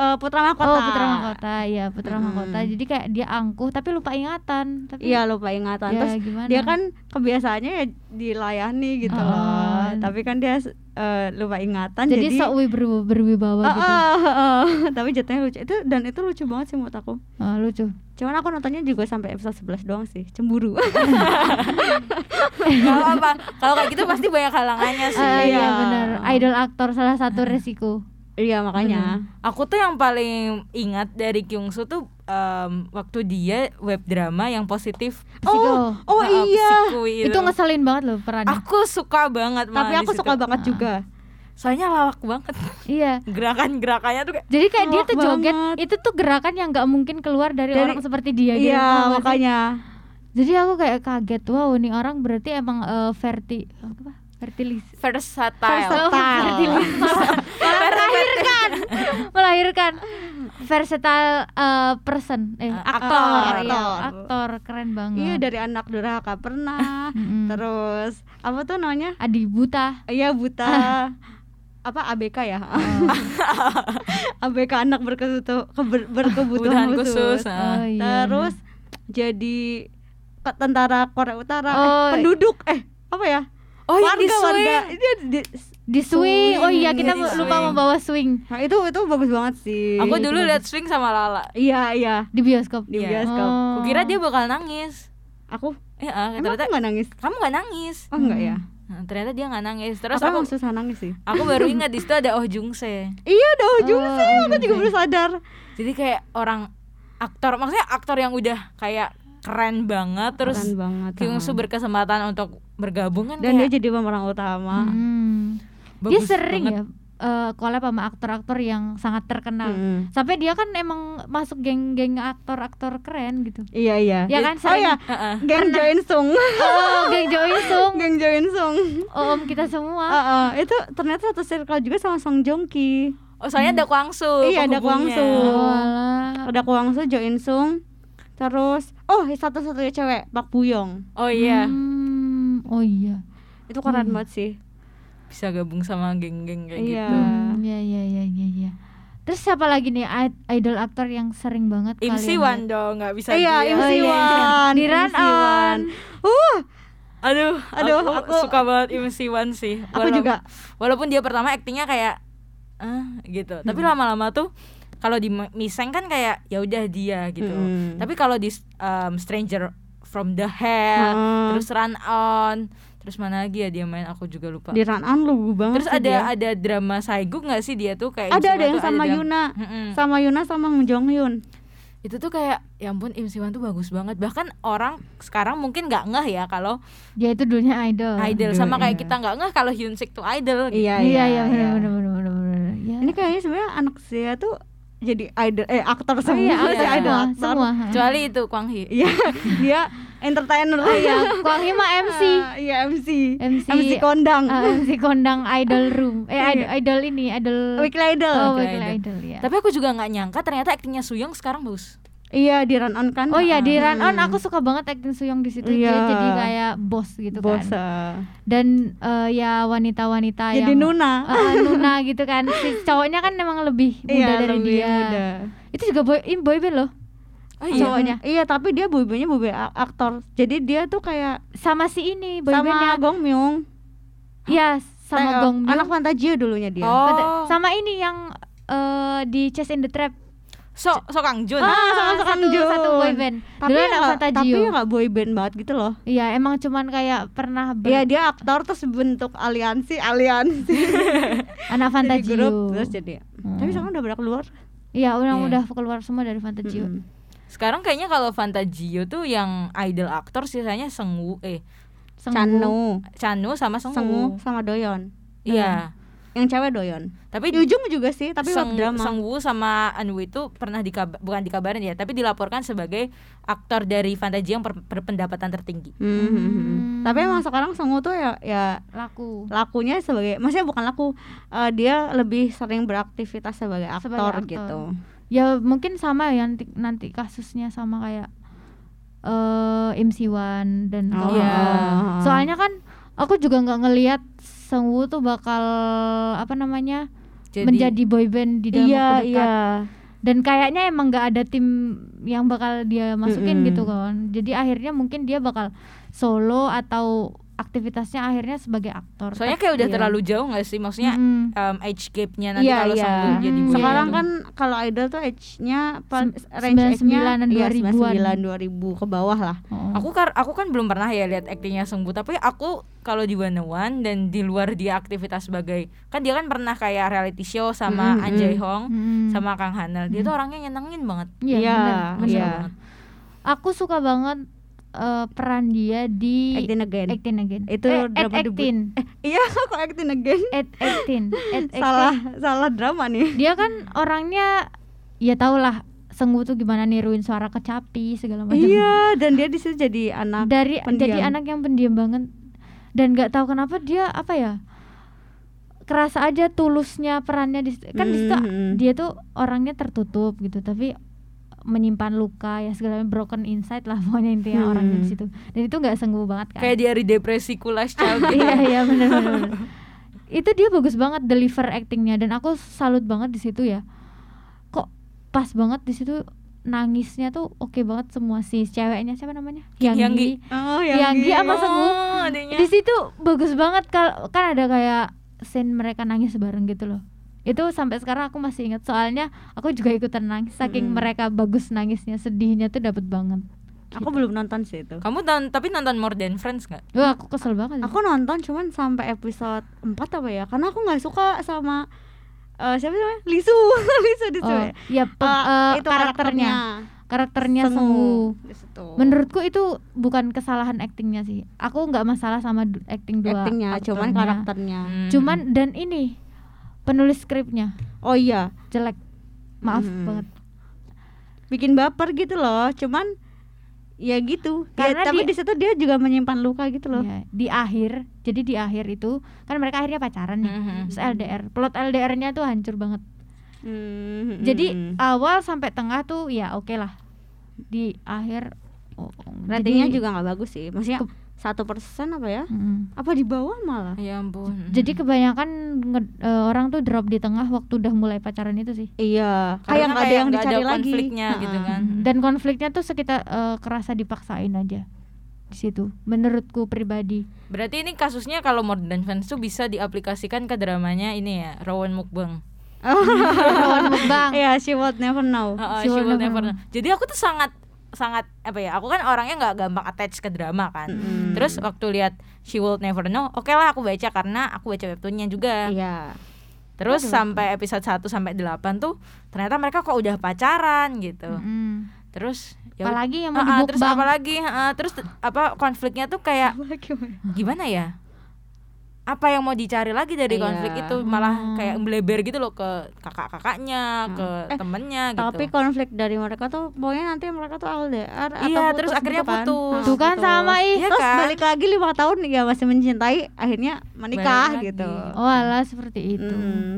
D: eh, putra mahkota
C: Oh, putra mahkota. Iya, putra
D: Mm-mm.
C: mahkota. Jadi kayak dia angkuh tapi lupa ingatan. Tapi
D: iya lupa ingatan
C: ya
D: terus
C: gimana?
D: dia kan kebiasaannya ya dilayani gitu
C: Oh.
D: loh tapi kan dia eh, lupa ingatan
C: jadi,
D: jadi,
C: sok wi- berwi- berwibawa
D: Eh,
C: gitu.
D: eh, eh, eh. tapi jatuhnya lucu itu dan itu lucu banget sih menurut aku
C: Oh, lucu.
D: cuman aku nontonnya juga sampai episode 11 doang sih cemburu
B: Kalau apa? Kalau kayak gitu pasti banyak halangannya sih.
C: Ah,
D: iya.
C: iya benar. Idol aktor salah satu resiko.
D: iya makanya
B: Aku tuh yang paling ingat dari Kyung Soo tuh em, waktu dia web drama yang positif.
D: oh
C: Psiko.
D: oh
B: Heeh,
D: iya
B: Psiku
C: Itu ngeselin banget loh perannya.
B: Aku suka banget
D: tapi
B: malah
D: aku
B: di situ.
D: suka banget juga
B: Soalnya lawak banget.
C: Iya.
B: Gerakan-gerakannya tuh kayak
C: Jadi kayak dia
D: Lawak
C: tuh joget,
D: banget.
C: itu tuh gerakan yang nggak mungkin keluar dari,
D: Dari-
C: orang seperti dia gitu.
D: iya
C: Paham nggak sih?
D: makanya
C: Jadi aku kayak kaget, wow ini orang berarti emang eh, verti apa? Vertilis.
B: versatile.
D: Versatile.
C: melahirkan melahirkan versatile eh, person eh
B: Eh,
C: aktor
D: aktor.
C: ya, aktor keren banget
D: Iya dari anak durhaka pernah.
C: Mm-mm.
D: Terus apa tuh namanya?
C: Adi Buta
D: Iya buta. apa ABK ya? ABK anak berkebutuhan berkebutuhan
B: Kebutuhan
D: khusus.
B: khusus.
D: ah.
B: heeh.
C: Oh, iya,
D: Terus jadi ke tentara Korea Utara, eh,
C: Oh,
D: penduduk eh apa ya?
B: Oh, yang
D: warga
B: di swing.
D: warga. Iya, di-
C: di swing oh iya kita
B: Swing.
C: lupa membawa swing
D: nah, itu itu bagus banget sih.
B: Aku
D: Itu
B: dulu
D: bagus.
B: lihat swing sama Lala.
D: Iya iya
C: di bioskop
D: di
B: Iya.
D: bioskop.
C: Oh.
B: Kukira dia bakal nangis.
D: Aku
B: Eh, ah,
D: emang
B: ternyata
D: aku nggak nangis.
B: kamu nggak nangis.
D: Oh enggak ya.
B: Nah, ternyata dia nggak nangis. Terus
D: Terus aku,
B: aku
D: emang susah nangis sih.
B: aku baru ingat di situ ada Oh Jung Se.
D: Iya dah ujung
C: Oh,
D: sih, aku
C: ujung
D: juga
C: sih.
D: baru sadar.
B: Jadi kayak orang aktor, maksudnya aktor yang udah kayak keren banget terus
D: Keren banget.
B: Kyung
D: ah.
B: Soo berkesempatan untuk bergabung kan
D: dan dia
B: kayak
D: jadi pemeran utama.
C: Hmm. dia
B: bagus
C: sering
B: banget.
C: ya eh collab sama aktor-aktor yang sangat terkenal
D: Mm-mm.
C: sampai dia kan emang masuk geng-geng aktor-aktor keren gitu
D: Iya iya.
C: Ya kan,
D: oh
C: sering.
D: ya,
B: Heeh.
D: geng Join Sung.
C: oh geng Jo In Sung
D: geng Ah, Join Sung.
C: om kita semua
D: Heeh, itu ternyata satu circle juga sama Song Joong Ki.
B: Oh, soalnya ada Kwang Soo.
D: Iya, ada Kwang
B: penghubungnya.
D: Soo.
C: Walah.
D: Ada Kwang Soo, Jo In Sung. Terus oh, satu-satunya cewek Pak Buyong.
B: Oh iya.
C: Hmm. oh iya
D: itu keren
C: Hmm.
D: banget sih
B: bisa gabung sama geng-geng kayak
D: Iya.
B: gitu
C: Hmm, ya ya ya ya ya terus siapa lagi nih i- idol aktor yang sering banget
B: MC
C: kalian
B: Wan dong nggak bisa Oh,
D: iya
B: diem.
D: MC
C: iya, iya.
D: Wan
C: Di run
D: MC Wan. uh
B: aduh
D: Aduh,
B: aku,
D: aku-
B: suka banget MC Wan sih
D: aku
B: Walau-
D: juga
B: walaupun dia pertama aktingnya kayak ah gitu
D: Hmm.
B: tapi lama-lama tuh kalau di Ma- miseng kan kayak ya udah dia gitu
D: Mm.
B: tapi kalau di um, stranger from the hell
D: Mm.
B: terus run on terus mana lagi ya dia main aku juga lupa
D: di run on lugu banget
B: terus
D: sih
B: ada
D: dia.
B: ada drama saiguk nggak sih dia tuh kayak
D: ada
B: MC Wan
D: ada yang
B: tuh Hmm.
D: sama
B: dram-
D: Yuna
B: Mm-mm.
D: sama Yuna sama Hong Jong Yun
B: itu tuh kayak ya ampun Im Siwan tuh bagus banget bahkan orang sekarang mungkin nggak ngeh ya kalau
C: dia itu dulunya
D: Oh,
C: idol
B: idol sama
D: iya.
B: kayak kita nggak ngeh kalau Hyun Sik tuh idol gitu.
C: iya iya benar benar benar benar benar. ya
D: ini kayaknya sebenarnya anak saya tuh jadi idol eh
C: Oh,
D: aktor semua ya.
C: iya,
B: semua
C: aktor
D: sih, idol
C: semua
D: aktor.
C: semua
B: kecuali itu Kwang Hee
D: iya dia entertainer lah
C: ya Kwang Hee mah MC
D: iya MC
C: MC.
D: MC kondang
C: Ah, MC kondang idol room eh idol, idol ini idol
D: Weekly Idol
C: oh
B: Weekly
C: weekly
B: Idol.
C: idol ya
B: tapi aku juga nggak nyangka ternyata aktingnya Suyong sekarang bagus
D: Iya di run on kan.
C: Oh iya di Run On
D: Hmm.
C: aku suka banget acting Suyong di situ dia
D: Iya.
C: jadi kayak bos gitu
D: Bos,
C: kan
D: eh,
C: dan eh, ya wanita-wanita
D: Jadi
C: yang
D: Nuna.
C: eh, Nuna gitu kan si cowoknya kan memang lebih muda
D: iya
C: dari
D: lebih
C: dia Oh
D: muda.
C: itu juga boy ini boyband loh
B: oh,
C: cowoknya
D: Iya tapi dia boybandnya boyband a- aktor. Jadi dia tuh kayak
C: sama si ini
D: sama
C: boybandnya
D: Gong Myung.
C: ya sama
D: Eh,
C: Gong Myung
D: Anak Fantasia dulunya dia.
B: oh
C: sama ini yang eh, di Chase in the Trap
B: so so Kang Jun
D: Ah, sama Kang
C: satu,
D: Jun.
C: satu boyband
D: Tapi
C: dulu
D: ya
C: anak
D: nggak- tapi ya
C: Fantajio
D: nggak boyband banget gitu loh.
C: iya emang cuman kayak pernah ber-
D: Iya dia aktor terus bentuk aliansi aliansi
C: anak
D: Jadi
C: Fantajio
D: grup terus jadi. Tapi
C: Kan Hmm.
D: sekarang udah pada keluar. Hmm.
C: iya orang
B: Iya.
C: udah keluar semua dari Fantajio
D: Mm-mm.
B: sekarang kayaknya kalau Fantajio tuh yang idol aktor sisanya Sengwu eh
D: Chanu,
B: Chanu sama Sengwu,
D: Sengu sama Doyon.
B: iya
D: Yang cewek Doyon.
B: tapi
D: Di ujung juga sih tapi web
B: Seng,
D: drama.
B: Sengwu sama Anwu itu pernah dikab bukan dikabarin ya, tapi dilaporkan sebagai aktor dari Fantasia yang per- berpendapatan tertinggi.
D: Hmm. Tapi emang sekarang Sengu tuh ya ya
C: laku
D: lakunya sebagai maksudnya bukan laku eh, dia lebih sering beraktivitas sebagai aktor,
C: Sebagai aktor.
D: gitu.
C: ya mungkin sama ya nanti, nanti kasusnya sama kayak eh MC1 dan
D: Oh.
C: kawan-kawan.
D: Iya.
C: soalnya kan aku juga nggak ngelihat Sengwu tuh bakal apa namanya
B: Jadi
C: menjadi boyband di dalam
D: iya,
C: waktu dekat
D: iya.
C: dan kayaknya emang nggak ada tim yang bakal dia masukin
D: Mm-mm.
C: gitu kan jadi akhirnya mungkin dia bakal solo atau aktivitasnya akhirnya sebagai aktor
B: soalnya kayak udah
D: Iya.
B: terlalu jauh nggak sih maksnya
C: Mm-mm.
B: em, age gapnya Nah, nanti
D: Iya,
B: kalau
D: iya.
B: Sengwu jadi
C: Hmm.
B: boy
D: Sekarang
B: itu.
D: kan kalau idol tuh age-nya pal-
C: Sem-
D: range age-nya iya,
C: 99-an, 2000-an.
D: 2000 ke bawah lah.
C: Oh.
B: aku kan aku kan belum pernah ya lihat aktingnya Sengwu, tapi aku kalau di One One dan di luar dia aktivitas sebagai kan dia kan pernah kayak reality show
C: Hmm,
B: sama
D: Mm-mm,
B: Anjay
D: mm.
B: Hong
C: Mm-mm.
B: sama Kang Hanel. Dia tuh orangnya nyenengin banget.
C: Hmm. Iya,
D: Iya,
C: bener, bener.
D: iya.
B: banget.
C: aku suka banget eh, peran dia di
D: Acting again.
C: Actin again.
D: Itu
C: eh, at
D: drama debut.
C: actin.
D: Iya, aku acting again.
C: At actin. At actin.
D: salah salah drama nih.
C: Dia kan orangnya ya tau lah Senggu tuh gimana niruin suara kecapi segala macam.
D: Iya, dan dia di situ jadi anak
C: Dari
D: pendiam.
C: jadi anak yang pendiam banget dan nggak tahu kenapa dia apa ya kerasa aja tulusnya perannya di kan di situ
D: Mhm.
C: dia tuh orangnya tertutup gitu tapi menyimpan luka ya segala broken inside lah pokoknya intinya
D: Hmm.
C: orangnya di situ dan itu nggak senggu banget kan
B: Kayak dia dari depresi kulas child gitu.
C: iya iya benar benar benar. itu dia bagus banget deliver actingnya dan aku salut banget di situ ya kok pas banget di situ nangisnya tuh oke banget semua si ceweknya siapa namanya
B: Yanggi.
D: Oh,
C: Yanggi,
D: Yanggi.
C: sama
D: Oh.
C: Senggu
B: Oh, adanya.
C: di situ bagus banget kalau kan ada kayak scene mereka nangis bareng gitu loh itu sampai sekarang aku masih ingat soalnya aku juga ikutan nangis saking
D: Mm-mm.
C: mereka bagus nangisnya sedihnya tuh dapet banget
D: Aku
C: gitu.
D: belum nonton sih itu.
B: Kamu nonton tapi nonton More Than Friends nggak?
C: wah aku kesel banget
D: Aku nonton cuman sampai episode 4 apa ya? Karena aku nggak suka sama eh, siapa namanya? Lisu. Lisu di situ
C: oh,
D: ya.
C: ya pe- eh,
D: Eh,
C: karakternya karakternya
D: Sengu.
C: Senggu
D: Di situ.
C: menurutku itu bukan kesalahan aktingnya sih aku nggak masalah sama du- acting dua
D: actingnya cuman
C: aktornya.
D: karakternya.
C: cuman dan ini penulis skripnya
D: Oh iya,
C: jelek maaf
D: Hmm.
C: banget
D: bikin baper gitu loh. Cuman ya gitu. Ya,
C: Karena di-
D: tapi di situ dia juga menyimpan luka gitu loh.
C: Iya, di akhir jadi di akhir itu kan mereka akhirnya pacaran nih
B: Mhm.
C: terus LDR plot LDR-nya tuh hancur banget
D: Hmm,
C: jadi
D: hmm, hmm.
C: awal sampai tengah tuh ya oke lah di akhir oh,
D: ratingnya
C: jadi-
D: juga nggak bagus sih. Maksudnya
C: Ke-
D: satu persen apa ya Iya.
C: Mm-mm.
D: apa di bawah malah
B: ya ampun
C: Jadi kebanyakan nge- eh, orang tuh drop di tengah waktu udah mulai pacaran itu sih.
D: iya
B: Karena
D: kayak nggak ada yang
B: nggak
D: dicari lagi
B: konfliknya gitu
D: Ha-ha.
B: kan
C: Dan konfliknya tuh sekitar eh, kerasa dipaksain aja di situ. Menurutku pribadi.
B: berarti ini kasusnya kalau modern fans tuh bisa diaplikasikan ke dramanya ini ya Rowan Mukbang
C: Lawan mukbang.
D: Iya, she would never know.
B: Uh, uh,
C: She
B: she will
C: Will Never
B: never know. Jadi aku tuh sangat sangat apa ya? Aku kan orangnya nggak gampang attach ke drama kan.
D: Mm.
B: Terus waktu lihat She Will Never Know, oke lah aku baca karena aku baca webtoonnya juga.
D: Iya.
B: Terus sampai episode 1 sampai 8 tuh ternyata mereka kok udah pacaran gitu.
C: Mm.
B: Terus ya
C: Apalagi yang mau
B: Ah, ah, terus
C: dibukbang.
B: apa lagi? Ah, ah, terus t- apa konfliknya tuh kayak gimana ya? Apa yang mau dicari lagi dari
D: Iya.
B: konflik itu malah kayak melebar gitu loh ke kakak-kakaknya, ke
D: Eh,
B: temennya gitu.
D: Tapi konflik dari mereka tuh pokoknya nanti mereka tuh LDR atau
B: Iya,
D: putus
B: terus
D: gitu
B: akhirnya
D: kan.
B: putus.
D: Ah,
C: Tuh kan sama ih.
B: Iya
D: Terus
B: kan?
D: balik lagi lima tahun ya masih mencintai, akhirnya menikah
B: Balik lagi.
D: gitu.
C: Oh gitu. alah seperti itu.
D: Mm.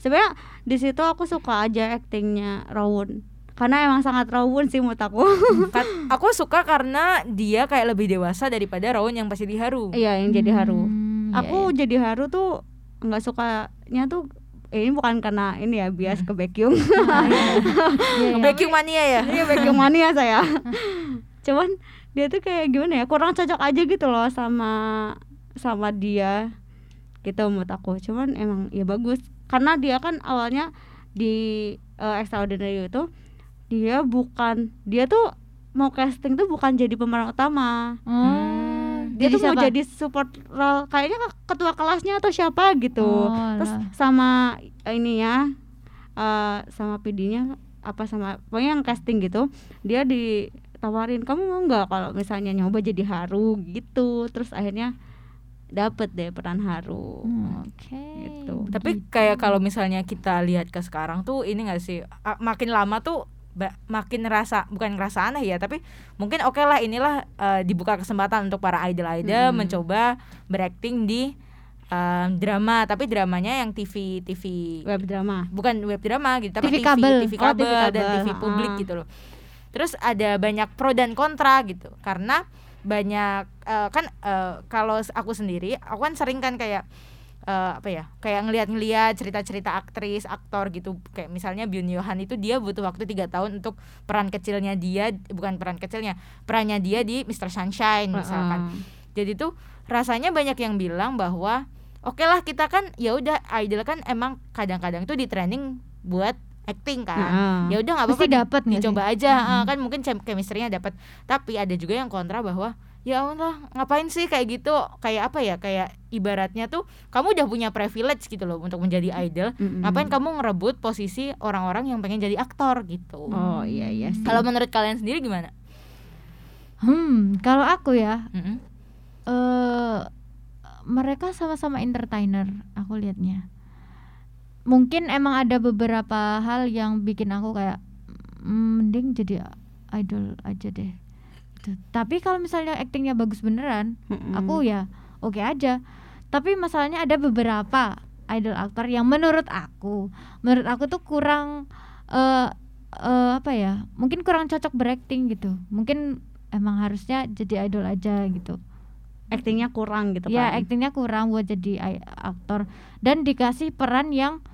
D: Sebenarnya di situ aku suka aja aktingnya Rawun. Karena emang sangat Rawun sih menurut aku.
B: Kat- Kan aku suka karena dia kayak lebih dewasa daripada Rowan yang pasti diharu.
D: Iya, yang jadi haru.
C: Hmm, iya,
D: aku jadi haru tuh nggak sukanya tuh ini bukan karena ini ya bias ke Baekhyun.
C: iya, iya.
B: Baking mania ya.
D: Iya Baekhyun mania saya. Cuman dia tuh kayak gimana ya kurang cocok aja gitu loh sama sama dia gitu menurut aku. Cuman emang ya bagus karena dia kan awalnya di eh, extraordinary itu dia bukan dia tuh mau casting tuh bukan jadi pemeran utama.
C: Oh,
D: Mm. Dia tuh mau
C: siapa?
D: jadi support role kayaknya ke- ketua kelasnya atau siapa gitu.
C: Oh,
D: Terus
C: alah.
D: sama ini ya eh, sama PD-nya apa sama pokoknya yang casting gitu dia ditawarin kamu mau nggak kalau misalnya nyoba jadi haru gitu terus akhirnya dapet deh peran haru
C: Hmm, Oke.
D: Gitu.
B: Tapi kayak kalau misalnya kita lihat ke sekarang tuh ini gak sih a- makin lama tuh ba- makin ngerasa bukan ngerasa aneh ya, tapi mungkin oke lah inilah eh, dibuka kesempatan untuk para idol-idol mencoba berakting di em, drama, tapi dramanya yang TV TV
D: web drama
B: bukan web drama gitu tapi
C: TV
B: TV
C: kabel.
B: TV
D: Oh, TV
B: kabel dan
D: kabel,
B: TV publik
D: ha.
B: gitu loh. Terus ada banyak pro dan kontra gitu karena banyak eh, kan eh, kalau aku sendiri aku kan sering kan kayak eh, apa ya kayak ngeliat-ngeliat cerita-cerita aktris aktor gitu kayak misalnya Byun Yohan itu dia butuh waktu tiga tahun untuk peran kecilnya dia bukan peran kecilnya perannya dia di Mr. Sunshine Hmm, misalkan jadi tuh rasanya banyak yang bilang bahwa oke lah kita kan ya udah idol kan emang kadang-kadang tuh di training buat acting kan. Ya udah nggak apa-apa
C: Pasti dapat nggak sih?
B: dicoba aja ah, kan mungkin chem- chemistry-nya dapat. Tapi ada juga yang kontra bahwa ya Allah ngapain sih kayak gitu kayak apa ya kayak ibaratnya tuh kamu udah punya privilege gitu loh untuk menjadi idol. Ngapain kamu ngerebut posisi orang-orang yang pengen jadi aktor gitu.
D: oh iya iya sih.
B: Kalau menurut kalian sendiri gimana?
C: Hmm, kalau aku ya,
B: Mm-mm.
C: eh mereka sama-sama entertainer, aku lihatnya. Mungkin emang ada beberapa hal yang bikin aku kayak "Mm, mending jadi idol aja deh. Gitu. Tapi kalau misalnya aktingnya bagus beneran,
D: Mm-mm.
C: aku ya oke aja. Tapi masalahnya ada beberapa idol aktor yang menurut aku, menurut aku tuh kurang eh eh, apa ya? Mungkin kurang cocok berakting gitu. Mungkin emang harusnya jadi idol aja gitu.
D: actingnya kurang gitu
C: Ya
D: kan
C: aktingnya kurang buat jadi ai- aktor dan dikasih peran yang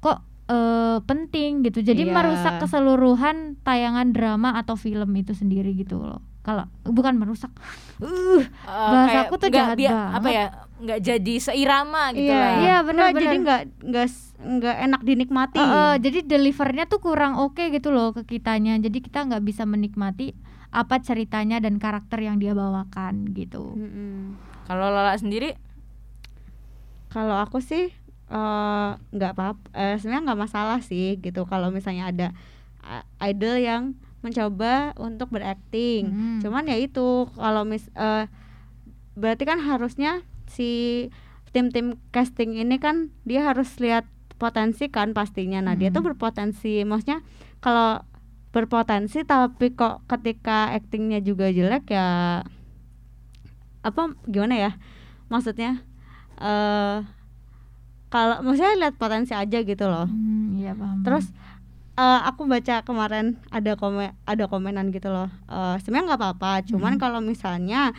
C: kok eh, penting gitu. Jadi
D: Iya.
C: merusak keseluruhan tayangan drama atau film itu sendiri gitu loh. Kalau bukan merusak. Uh,
B: Eh,
C: Bahasa
B: kayak
C: aku tuh
B: nggak
C: jahat
B: biar-
C: banget.
B: apa ya nggak jadi seirama gitu lah
D: Iya.
B: ya.
C: Iya,
D: Nggak,
C: benar-benar.
D: jadi nggak nggak s- nggak enak dinikmati
C: Eh, eh, jadi delivernya tuh kurang oke gitu loh ke kitanya. Jadi kita nggak bisa menikmati apa ceritanya dan karakter yang dia bawakan gitu.
D: Mm-mm.
B: Kalau Lala sendiri
D: kalau aku sih eh, nggak apa eh, sebenarnya nggak masalah sih gitu kalau misalnya ada eh, idol yang mencoba untuk berakting
C: Hmm.
D: cuman ya itu kalau mis eh, berarti kan harusnya si tim-tim casting ini kan dia harus lihat potensi kan pastinya nah dia tuh berpotensi maksudnya kalau berpotensi tapi kok ketika actingnya juga jelek ya apa gimana ya maksudnya eh kalau maksudnya lihat potensi aja gitu loh
C: Hmm, iya paham.
D: terus eh, aku baca
C: Hmm.
D: kemarin ada komen ada komenan gitu loh Eh, sebenarnya nggak apa-apa cuman kalau misalnya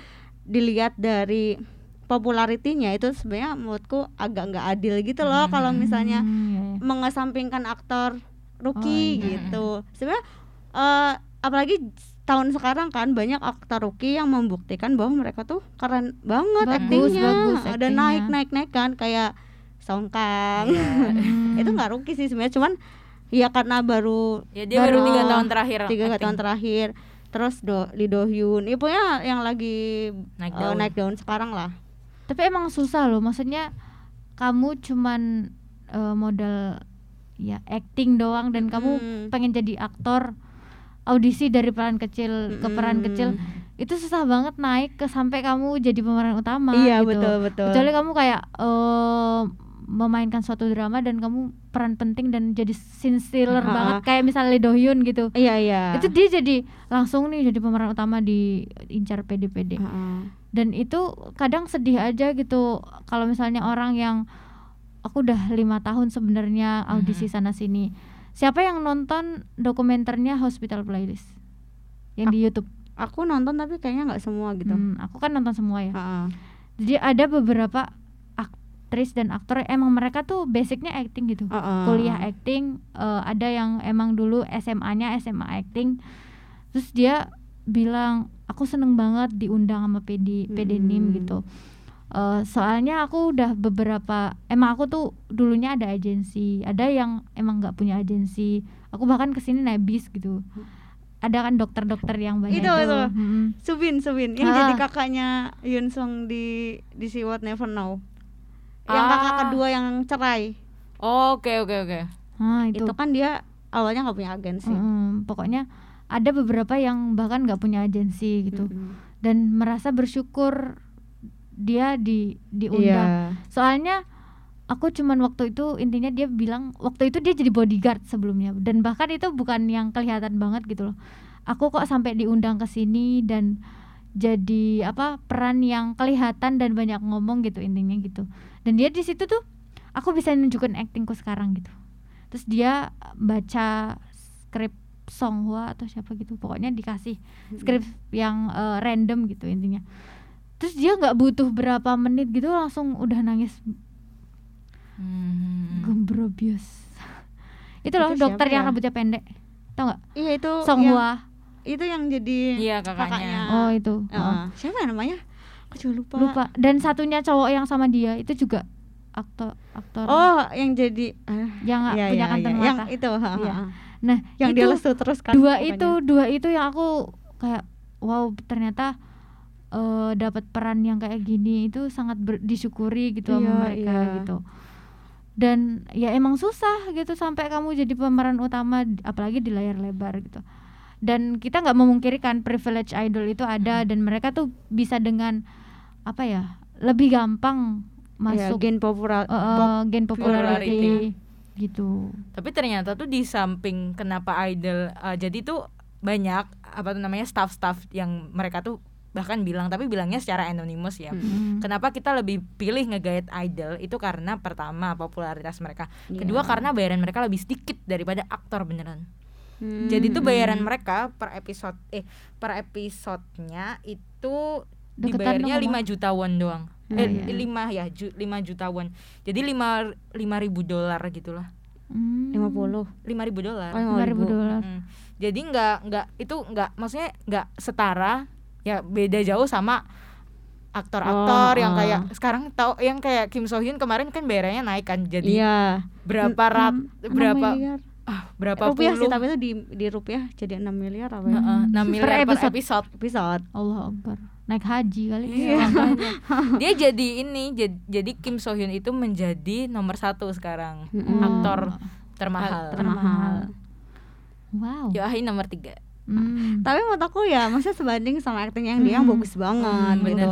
D: dilihat dari popularitinya itu sebenarnya menurutku agak nggak adil gitu loh kalau misalnya
C: Hmm, iya, iya.
D: mengesampingkan aktor
C: Oh,
D: rookie
C: iya.
D: gitu. Sebenarnya eh, apalagi tahun sekarang kan banyak aktor rookie yang membuktikan bahwa mereka tuh keren banget
C: Bagus,
D: aktingnya.
C: bagus
D: Ada
C: aktingnya.
D: naik naik naik kan kayak Songkang.
C: Hmm.
D: itu nggak rookie sih sebenarnya cuman ya karena baru
B: Ya dia baru
D: Baru
B: tiga tahun terakhir.
D: tiga
B: acting.
D: tahun terakhir. Terus do, Lee Do Hyun, ya pokoknya yang lagi
B: Naik
D: eh,
B: daun.
D: naik daun sekarang lah.
C: tapi emang susah loh maksudnya kamu cuman eh, modal ya acting doang dan kamu
D: Hmm.
C: pengen jadi aktor audisi dari peran kecil ke peran
D: Mm-mm.
C: kecil itu susah banget naik ke sampai kamu jadi pemeran utama
D: Iya
C: gitu.
D: betul betul.
C: kecuali kamu kayak eh, memainkan suatu drama dan kamu peran penting dan jadi scene stealer
D: Ah,
C: banget
D: ah.
C: kayak misalnya Lee Do Hyun gitu
D: Iya iya.
C: itu dia jadi langsung nih jadi pemeran utama di incar PDPD
D: Heeh.
C: dan itu kadang sedih aja gitu kalau misalnya orang yang aku udah lima tahun sebenarnya audisi sana sini siapa yang nonton dokumenternya Hospital Playlist yang di YouTube
D: Aku nonton tapi kayaknya nggak semua gitu.
C: Hmm, aku kan nonton semua ya
D: Heeh.
C: jadi ada beberapa aktris dan aktor emang mereka tuh basicnya acting gitu
D: Heeh.
C: kuliah acting eh, ada yang emang dulu SMA-nya SMA acting terus dia bilang aku seneng banget diundang sama PD PDNIM
D: Mm-mm.
C: gitu Eh, soalnya aku udah beberapa emang aku tuh dulunya ada agensi ada yang emang nggak punya agensi aku bahkan kesini nebis gitu ada kan dokter-dokter yang banyak
D: Itu, itu.
C: mm-mm.
D: Subin, Subin yang
C: Ah.
D: jadi kakaknya Yun Song di di See What Never Know. Yang
B: Ah.
D: kakak kedua yang cerai.
B: Oke oke oke.
C: Ah,
D: Itu, kan dia awalnya nggak punya agensi.
C: Mm-mm, pokoknya ada beberapa yang bahkan nggak punya agensi gitu
D: Mm-mm.
C: dan merasa bersyukur dia di diundang.
D: Iya.
C: Soalnya aku cuman waktu itu intinya dia bilang waktu itu dia jadi bodyguard sebelumnya dan bahkan itu bukan yang kelihatan banget gitu loh. Aku kok sampai diundang ke sini dan jadi apa peran yang kelihatan dan banyak ngomong gitu intinya gitu. Dan dia di situ tuh aku bisa nunjukin actingku sekarang gitu. Terus dia baca skrip Songhwa atau siapa gitu pokoknya dikasih skrip yang eh, random gitu intinya terus dia nggak butuh berapa menit gitu langsung udah nangis
B: Hmm.
C: gembrobius itu loh
D: Itu siapa
C: dokter yang
D: ya?
C: rambutnya pendek tau nggak
D: Iya Ah. itu yang-
C: Songhwa
D: itu yang jadi
B: Iya, kakaknya.
C: oh itu
D: Heeh. Siapa ya namanya? Aku juga lupa.
C: Heeh. lupa dan satunya cowok yang sama dia itu juga aktor aktor
D: Oh, yang jadi ah,
C: yang nggak
D: iya,
C: punya
D: iya,
C: kantong
D: iya. Yang
C: mata
D: itu, heeh,
C: Iya.
D: heeh.
C: nah
D: Yang
C: itu
D: dia lesu terus kan.
C: dua
D: pokoknya.
C: itu dua itu yang aku kayak wow ternyata eh, dapat peran yang kayak gini itu sangat ber- disyukuri gitu
D: Iya,
C: sama mereka
D: iya.
C: gitu dan ya emang susah gitu sampai kamu jadi pemeran utama d- apalagi di layar lebar gitu dan kita nggak memungkirkan privilege idol itu ada
D: Hmm.
C: dan mereka tuh bisa dengan apa ya lebih gampang
D: Iya,
C: masuk
D: gen popular.
C: eh, eh, gen popularity
B: popularity.
C: gitu
B: Tapi ternyata tuh di samping kenapa idol eh, jadi tuh banyak apa tuh namanya staff-staff yang mereka tuh bahkan bilang tapi bilangnya secara anonymous ya.
C: Mm.
B: Kenapa kita lebih pilih ngegait idol itu karena pertama popularitas mereka,
D: Iya.
B: kedua karena bayaran mereka lebih sedikit daripada aktor beneran.
D: Hmm.
B: Jadi tuh bayaran mereka per episode eh per episodenya itu
C: Deketan
B: dibayarnya
C: dong,
B: 5 juta won doang.
D: Hmm,
B: eh
D: iya.
B: 5 ya, ju- 5 juta won. Jadi 5 5000 dolar gitulah.
C: Mm.
D: Hmm. 50.
B: 5000 dolar.
D: Oh,
C: 5.000 dolar
B: Mm. Jadi nggak nggak itu nggak maksudnya nggak setara ya beda jauh sama aktor-aktor
D: Oh,
B: yang
D: ah.
B: kayak sekarang tau yang kayak Kim So Hyun kemarin kan bayarannya naik kan jadi
D: Iya. hmm.
B: berapa rat
D: Enam- enam
B: berapa
D: miliar.
B: ah, berapa
D: rupiah sih
B: puluh
D: tapi itu di di rupiah jadi 6 miliar apa ya?
B: Heeh, enam
C: Per
B: miliar per
C: episode.
B: episode.
D: Episode.
C: Allah Hmm. Akbar naik haji kali ya?
B: Iya. Makanya. dia jadi ini jad- jadi Kim So Hyun itu menjadi nomor satu sekarang
D: Mm-mm.
B: aktor termahal
D: Termahal.
C: wow
B: Yoahi nomor tiga
C: Hmm.
D: Tapi menurut aku ya maksudnya sebanding sama aktingnya yang dia yang
C: Hmm.
D: bagus banget
B: Hmm,
D: gitu.
B: bener.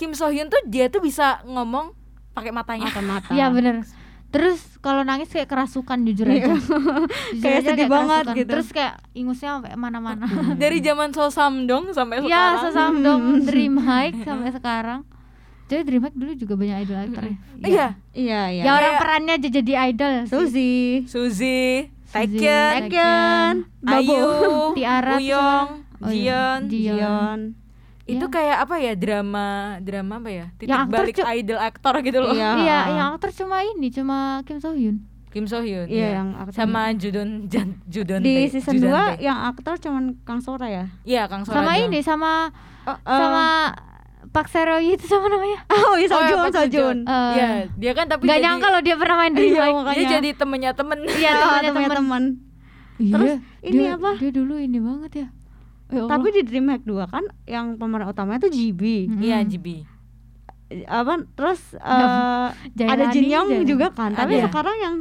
B: Kim So Hyun tuh dia tuh bisa ngomong pakai matanya
D: Mata mata.
C: iya bener terus kalau nangis kayak kerasukan jujur aja Jujur
D: Kayak
C: aja
D: sedih banget
C: kerasukan.
D: gitu.
C: terus kayak ingusnya sampai mana-mana
B: dari zaman So Samdong sampai
C: ya
B: sekarang
C: sesam dong dream high sampai sekarang jadi dream high dulu juga banyak idol aktor ya
B: iya
D: Iya iya.
C: ya orang
B: Kayak-
C: perannya aja jadi idol sih.
D: Suzy,
B: Suzy
C: Suzy,
B: Taekyeon
C: Taekyeon,
D: Babu,
B: Ayu
C: Tiara tuh
B: Uyong
C: Oh
B: Jion
C: iya, Jion.
D: Dion,
B: itu
C: Iya.
B: kayak apa ya drama drama apa ya titik
C: Yang aktor,
B: balik
C: Cuk.
B: idol aktor gitu loh
D: Iya.
C: Iya, yang aktor cuma ini, cuma Kim So Hyun.
B: Kim So Hyun
D: Iya,
B: ya.
D: yang aktor.
B: sama Judon Jan, Judon
D: di
B: Tae-
D: season ya.
B: Judon
D: 2
B: Tae.
D: yang aktor cuman Kang Sora ya
B: iya Kang Sora
C: Sama
B: doang.
C: ini, sama
D: oh,
C: sama Pak Seroyi itu sama namanya.
D: oh iya,
B: Oh,
D: Sojun
B: Park Seo Joon.
D: Sojun
C: Eh,
B: Iya, dia kan tapi
C: Gak
B: jadi-
C: nyangka loh dia pernah main di
D: Iya,
C: Dreamhack.
D: makanya.
B: dia jadi temennya temen
C: Iya,
D: Ah,
C: teman
D: temannya teman
C: Terus
D: ini apa?
C: Dia dulu ini banget ya. Ya Allah.
D: tapi di Dreamhack 2 kan yang pemeran utamanya tuh GB
C: Hmm.
B: iya JB
D: apa terus
C: Nah,
D: eh, ada
C: Jailani,
D: Jin Young
C: Jailani.
D: juga kan tapi
B: Ada.
D: sekarang yang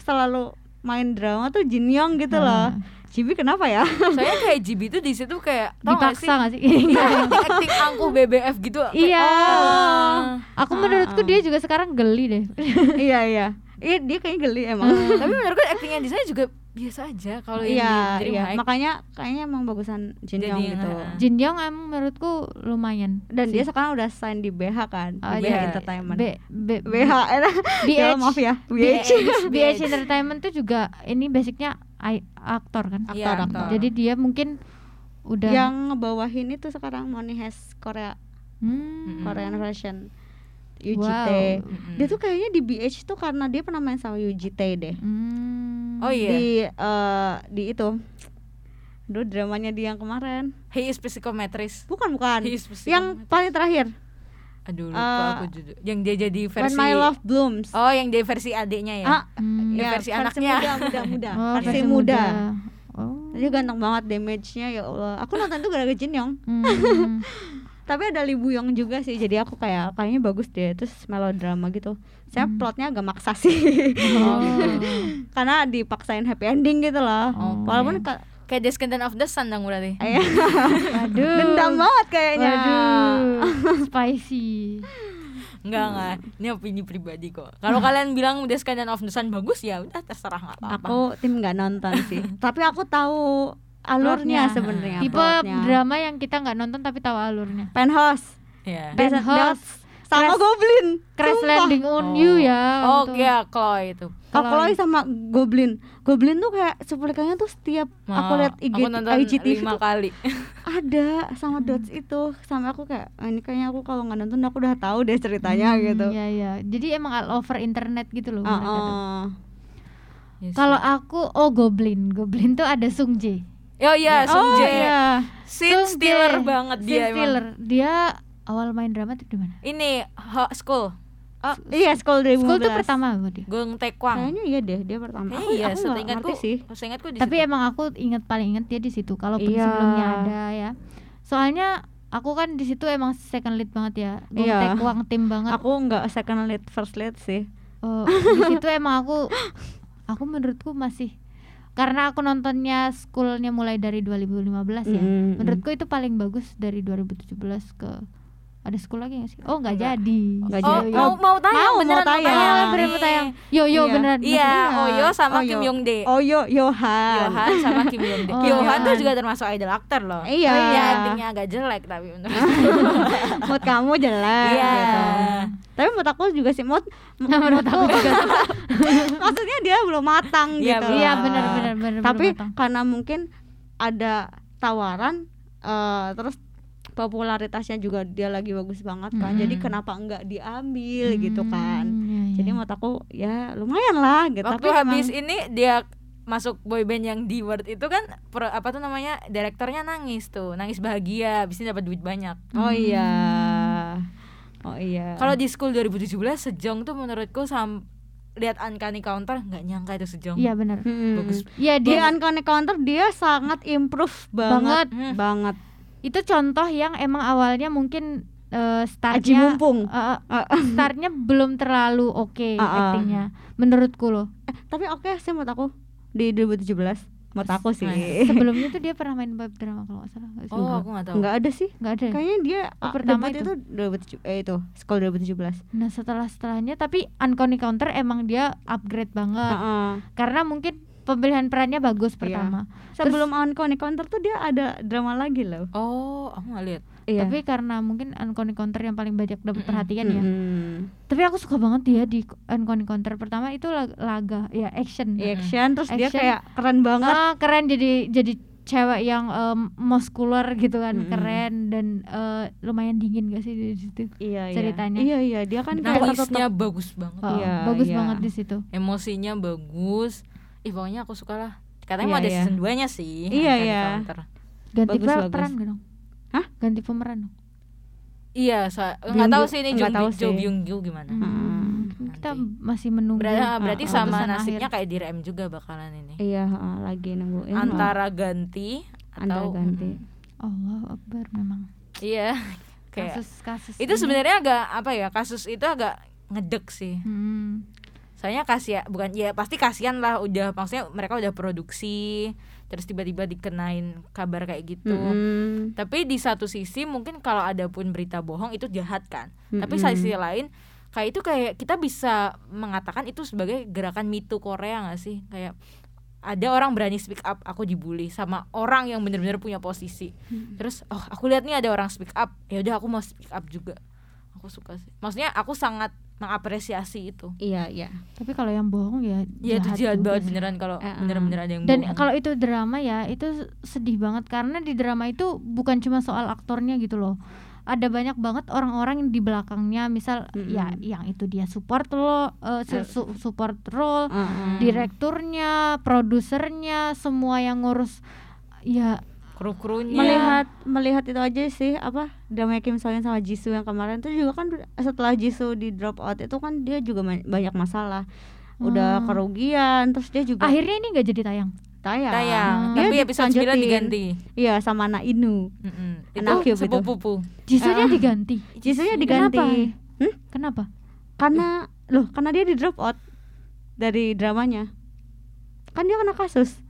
D: selalu main drama tuh Jin Young gitu
C: Ah.
D: loh GB kenapa ya
B: soalnya kayak JB tuh di situ kayak tau gak
C: dipaksa gak sih?
B: sih? Iya. acting angkuh BBF gitu kayak,
C: Iya.
B: ah.
C: Aku menurutku
D: ah.
C: dia juga sekarang geli deh.
D: iya iya iya dia kayaknya geli emang
C: Ah.
B: tapi menurutku actingnya di sana juga biasa aja kalau yang
D: iya
B: di
D: iya
B: Dreamhack.
D: makanya kayaknya emang bagusan Jin
B: Jadi,
D: Young gitu
B: ah.
C: Jin Young emang menurutku lumayan.
D: dan
C: sih.
D: dia sekarang udah sign di BH kan
C: Oh,
D: di BH
B: iya.
D: Entertainment
C: B, B,
D: BH enak ya
C: BH.
D: maaf ya BH
B: BH.
C: BH Entertainment tuh juga ini basicnya ai- aktor kan.
B: Iya,
D: aktor,
B: aktor.
C: Jadi dia mungkin udah
D: yang ngebawahin itu sekarang Money Heist Korea
C: Hmm.
D: Korean version
C: Wow.
D: Yujite
B: Mm-mm.
D: dia tuh kayaknya di BH tuh karena dia pernah main sama Yujite deh
C: Hmm.
B: oh iya
D: di eh, di itu Aduh dramanya dia yang kemarin
B: he is psikometris
D: bukan bukan
B: He is psikometris.
D: yang paling terakhir
B: aduh lupa
D: Eh,
B: aku judul yang dia jadi versi
D: When My Love Blooms
B: oh yang dia versi adiknya ya
D: Ah,
C: Hmm.
B: Ya, versi anaknya.
D: muda muda
B: Iya,
D: muda
C: Oh,
D: versi,
C: versi
D: muda,
C: Oh.
D: dia ganteng banget damage-nya ya Allah aku nonton tuh gara-gara Jin Young
C: Hmm.
D: tapi ada Lee Buyong juga sih jadi aku kayak kayaknya bagus deh terus melodrama gitu saya
C: Hmm.
D: plotnya agak maksa sih
B: oh.
D: karena dipaksain happy ending gitu loh
B: Oh,
C: iya.
D: walaupun ka-
B: kayak Descendant of the Sun dong berarti
D: eh,
C: Waduh.
D: dendam banget kayaknya
C: Waduh. Spicy.
B: Enggak
D: Hmm.
B: enggak, ini opini pribadi kok. Kalau kalian bilang Descendant of the Sun bagus ya udah terserah nggak apa-apa.
D: aku tim nggak nonton sih tapi aku tahu
C: Plotnya.
D: alurnya
B: Ya,
D: sebenarnya
C: Tipe
D: plotnya.
C: drama yang kita nggak nonton tapi tahu alurnya.
D: penthouse
B: Ya.
C: Pe-
D: Desa-
C: Penthouse.
D: Des- sama
C: Crash-
D: goblin
C: Crash
D: Sumpah.
C: landing on you ya.
B: Oh
C: untuk-
B: iya, Chloe itu.
D: Oh,
C: Kalau-
D: Chloe sama Goblin. Goblin tuh kayak cuplikannya tuh setiap aku lihat IG
B: aku nonton
D: IGTV
B: lima
D: tuh
B: kali.
D: ada sama dots itu sama aku kayak "Ah, ini kayaknya aku kalau nggak nonton aku udah tahu deh ceritanya
C: Hmm,
D: gitu.
C: Iya iya. Jadi emang all over internet gitu loh
D: Ah,
C: mereka
B: Uh-uh.
C: tuh.
D: ah.
B: Yes.
C: Kalau aku oh Goblin. Goblin tuh ada Sung Jae.
B: Oh iya, Sung Jae.
D: iya.
B: Scene
C: Sung
B: stealer
C: Jae.
B: banget
C: Scene
B: dia
C: stealer.
B: emang.
C: Dia awal main drama tuh di mana?
B: Ini Ho- School,
D: Oh, iya school dari
C: School tuh pertama gue dia.
B: Gong Taekwang.
D: Kayaknya iya deh dia pertama.
B: Kayaknya
D: aku
B: iya,
D: aku nggak
B: seingatku.
D: ngerti sih.
B: Seingatku di
C: Tapi
B: situ.
C: emang aku inget paling inget dia di situ. Kalaupun
D: Iya.
C: sebelumnya ada ya. Soalnya aku kan di situ emang second lead banget ya. Gong
D: Iya.
C: Taekwong tim banget.
D: Aku nggak second lead first lead sih.
C: Eh, di situ emang aku aku menurutku masih karena aku nontonnya schoolnya mulai dari 2015 ya.
D: Mm, mm.
C: Menurutku itu paling bagus dari 2017 ke ada school lagi gak sih? Oh nggak
B: Nggak.
C: jadi.
D: Nggak
B: Oh,
D: jadi.
B: mau mau tayang
D: Mau, mau
B: beneran
D: tayang.
C: Tayang beneran tayang. Yo yo
D: Iya.
C: beneran.
B: Iya, Oyo sama
D: Oh,
B: Kim
D: yo.
B: Yong Dae.
D: Oh yo Yohan.
B: Yohan sama Kim Yong Dae.
C: Oh,
B: Yohan tuh
C: Yohan.
B: juga termasuk idol aktor loh.
D: Iya.
B: Iya, actingnya agak jelek tapi menurut
D: Mood kamu jelek
B: Iya.
D: gitu. Tapi menurut aku juga sih mood
C: Menurut aku juga.
D: maksudnya dia belum matang
B: Iya,
D: gitu.
C: Iya
B: Wah.
C: benar benar benar.
D: Tapi
C: benar, Bang.
D: karena mungkin ada tawaran eh, terus popularitasnya juga dia lagi bagus banget kan. Jadi
B: Mm.
D: kenapa enggak diambil gitu kan.
C: Mm-hmm. Hmm, iya, iya.
D: Jadi menurut aku ya lumayan lah gitu.
B: Waktu
D: Tapi emang-
B: habis ini dia masuk boyband yang di Word itu kan pro- apa tuh namanya direkturnya nangis tuh nangis bahagia habis ini dapat duit banyak
D: Oh iya.
C: Hmm.
D: Oh iya.
B: kalau di school 2017 sejong tuh menurutku sam lihat uncanny counter nggak nyangka itu sejong
C: Iya benar.
D: Mm.
B: bagus
C: Iya
D: di
C: dia
D: Uncanny Counter dia sangat improve
C: Banget.
D: banget
B: Hmm.
D: banget.
C: itu contoh yang emang awalnya mungkin eh,
D: Aji
C: startnya
D: mumpung.
C: eh,
D: Ah,
C: startnya belum terlalu oke
D: Ah, ah.
C: actingnya menurutku loh
D: eh, tapi oke sih menurut aku di 2017 menurut aku sih.
C: sebelumnya tuh dia pernah main web drama kalau nggak salah nggak sih?
B: oh aku nggak tahu
D: Enggak ada sih.
C: nggak ada ya?
D: Kayaknya dia
C: Oh,
D: ah,
C: pertama
D: debut
C: itu.
D: itu 2017 eh itu sekolah 2017.
C: nah setelah setelahnya tapi Uncanny Counter emang dia upgrade banget
D: Heeh. Iya.
C: karena mungkin pemilihan perannya bagus pertama
D: Sebelum Uncanny Counter tuh dia ada drama lagi loh.
B: oh aku nggak lihat
D: iya.
C: tapi karena mungkin Uncanny Counter yang paling banyak dapat
B: Mm-mm.
C: perhatian Iya. ya
D: Mm-mm.
C: tapi aku suka banget dia di Uncanny Counter pertama itu lag- laga ya action
D: Iya, Action terus dia
C: Action.
D: kayak keren banget.
C: Ah, keren jadi jadi cewek yang em, muscular gitu kan
D: Mm-mm.
C: keren dan eh, lumayan dingin gak sih di situ
D: iya iya.
C: ceritanya.
D: iya iya dia kan
B: Nah,
D: kayak
B: nangisnya bagus banget
C: Oh,
D: Iya,
C: bagus
D: iya.
C: banget di situ
B: emosinya bagus ih pokoknya aku suka lah katanya
D: Iya,
B: mau ada
D: iya.
B: season 2 nya sih
D: Iya,
B: Uncanny
D: iya.
B: Counter.
C: ganti
D: Bagus,
C: peran
D: bagus.
C: peran gak dong
D: Hah?
C: ganti pemeran dong
B: iya so- nggak
D: Byung-gyu-
B: tahu sih ini
D: nggak
B: Jung
D: tahu
B: Jo
D: sih.
B: Byung Gyu gimana
C: Hmm, kita
B: Ah, Nanti.
C: masih menunggu
B: Berarti, berarti
D: ah,
B: sama
C: keputusan
B: nasibnya
C: akhir.
B: kayak di rem juga bakalan ini
D: iya ah, lagi nungguin
B: antara ganti
D: antara
B: atau
D: ganti
B: Mm,
C: Allah Akbar memang
B: iya kayak
C: kasus-kasus
B: itu
C: ini.
B: sebenarnya agak apa ya kasus itu agak ngedek sih
C: Hmm.
B: soalnya kasihan bukan ya pasti kasihan lah udah maksudnya mereka udah produksi terus tiba-tiba dikenain kabar kayak gitu
D: Mm-mm.
B: tapi di satu sisi mungkin kalau ada pun berita bohong itu jahat kan tapi
D: Mm-mm.
B: sisi lain kayak itu kayak kita bisa mengatakan itu sebagai gerakan mitu Korea nggak sih kayak ada orang berani speak up aku dibully sama orang yang benar-benar punya posisi terus oh aku lihat nih ada orang speak up ya udah aku mau speak up juga aku suka sih maksudnya aku sangat mengapresiasi itu
D: iya iya
C: tapi kalau yang bohong ya
B: ya itu jahat
C: juga
B: banget
C: sih.
B: beneran kalau
D: Eh, eh.
B: bener-bener ada yang
C: dan
B: bohong.
C: kalau itu drama ya itu sedih banget karena di drama itu bukan cuma soal aktornya gitu loh ada banyak banget orang-orang yang di belakangnya misal
D: Mm-mm.
C: ya yang itu dia support lo eh, su-
D: Eh.
C: su- support role
D: Mm-mm.
C: direkturnya produsernya semua yang ngurus ya
B: kru-krunya
D: melihat melihat itu aja sih apa drama Kim So Hyun sama Jisoo yang kemarin itu juga kan setelah Jisoo di drop out itu kan dia juga ma- banyak masalah udah
C: Hmm.
D: kerugian terus dia juga
C: akhirnya ini nggak jadi tayang
D: tayang,
B: tayang
C: Hmm.
B: tapi
D: Dia
B: episode 9
D: dilanjutin.
B: diganti
D: iya sama anak Inu
B: Mm-mm.
D: Anak
B: itu
D: cube itu.
B: sepupu-pupu
C: Jisoo-nya
D: Eh.
C: diganti
D: Jisoo-nya diganti
C: Kenapa?
D: Hmm?
C: kenapa
D: karena loh karena dia di drop out dari dramanya kan dia kena kasus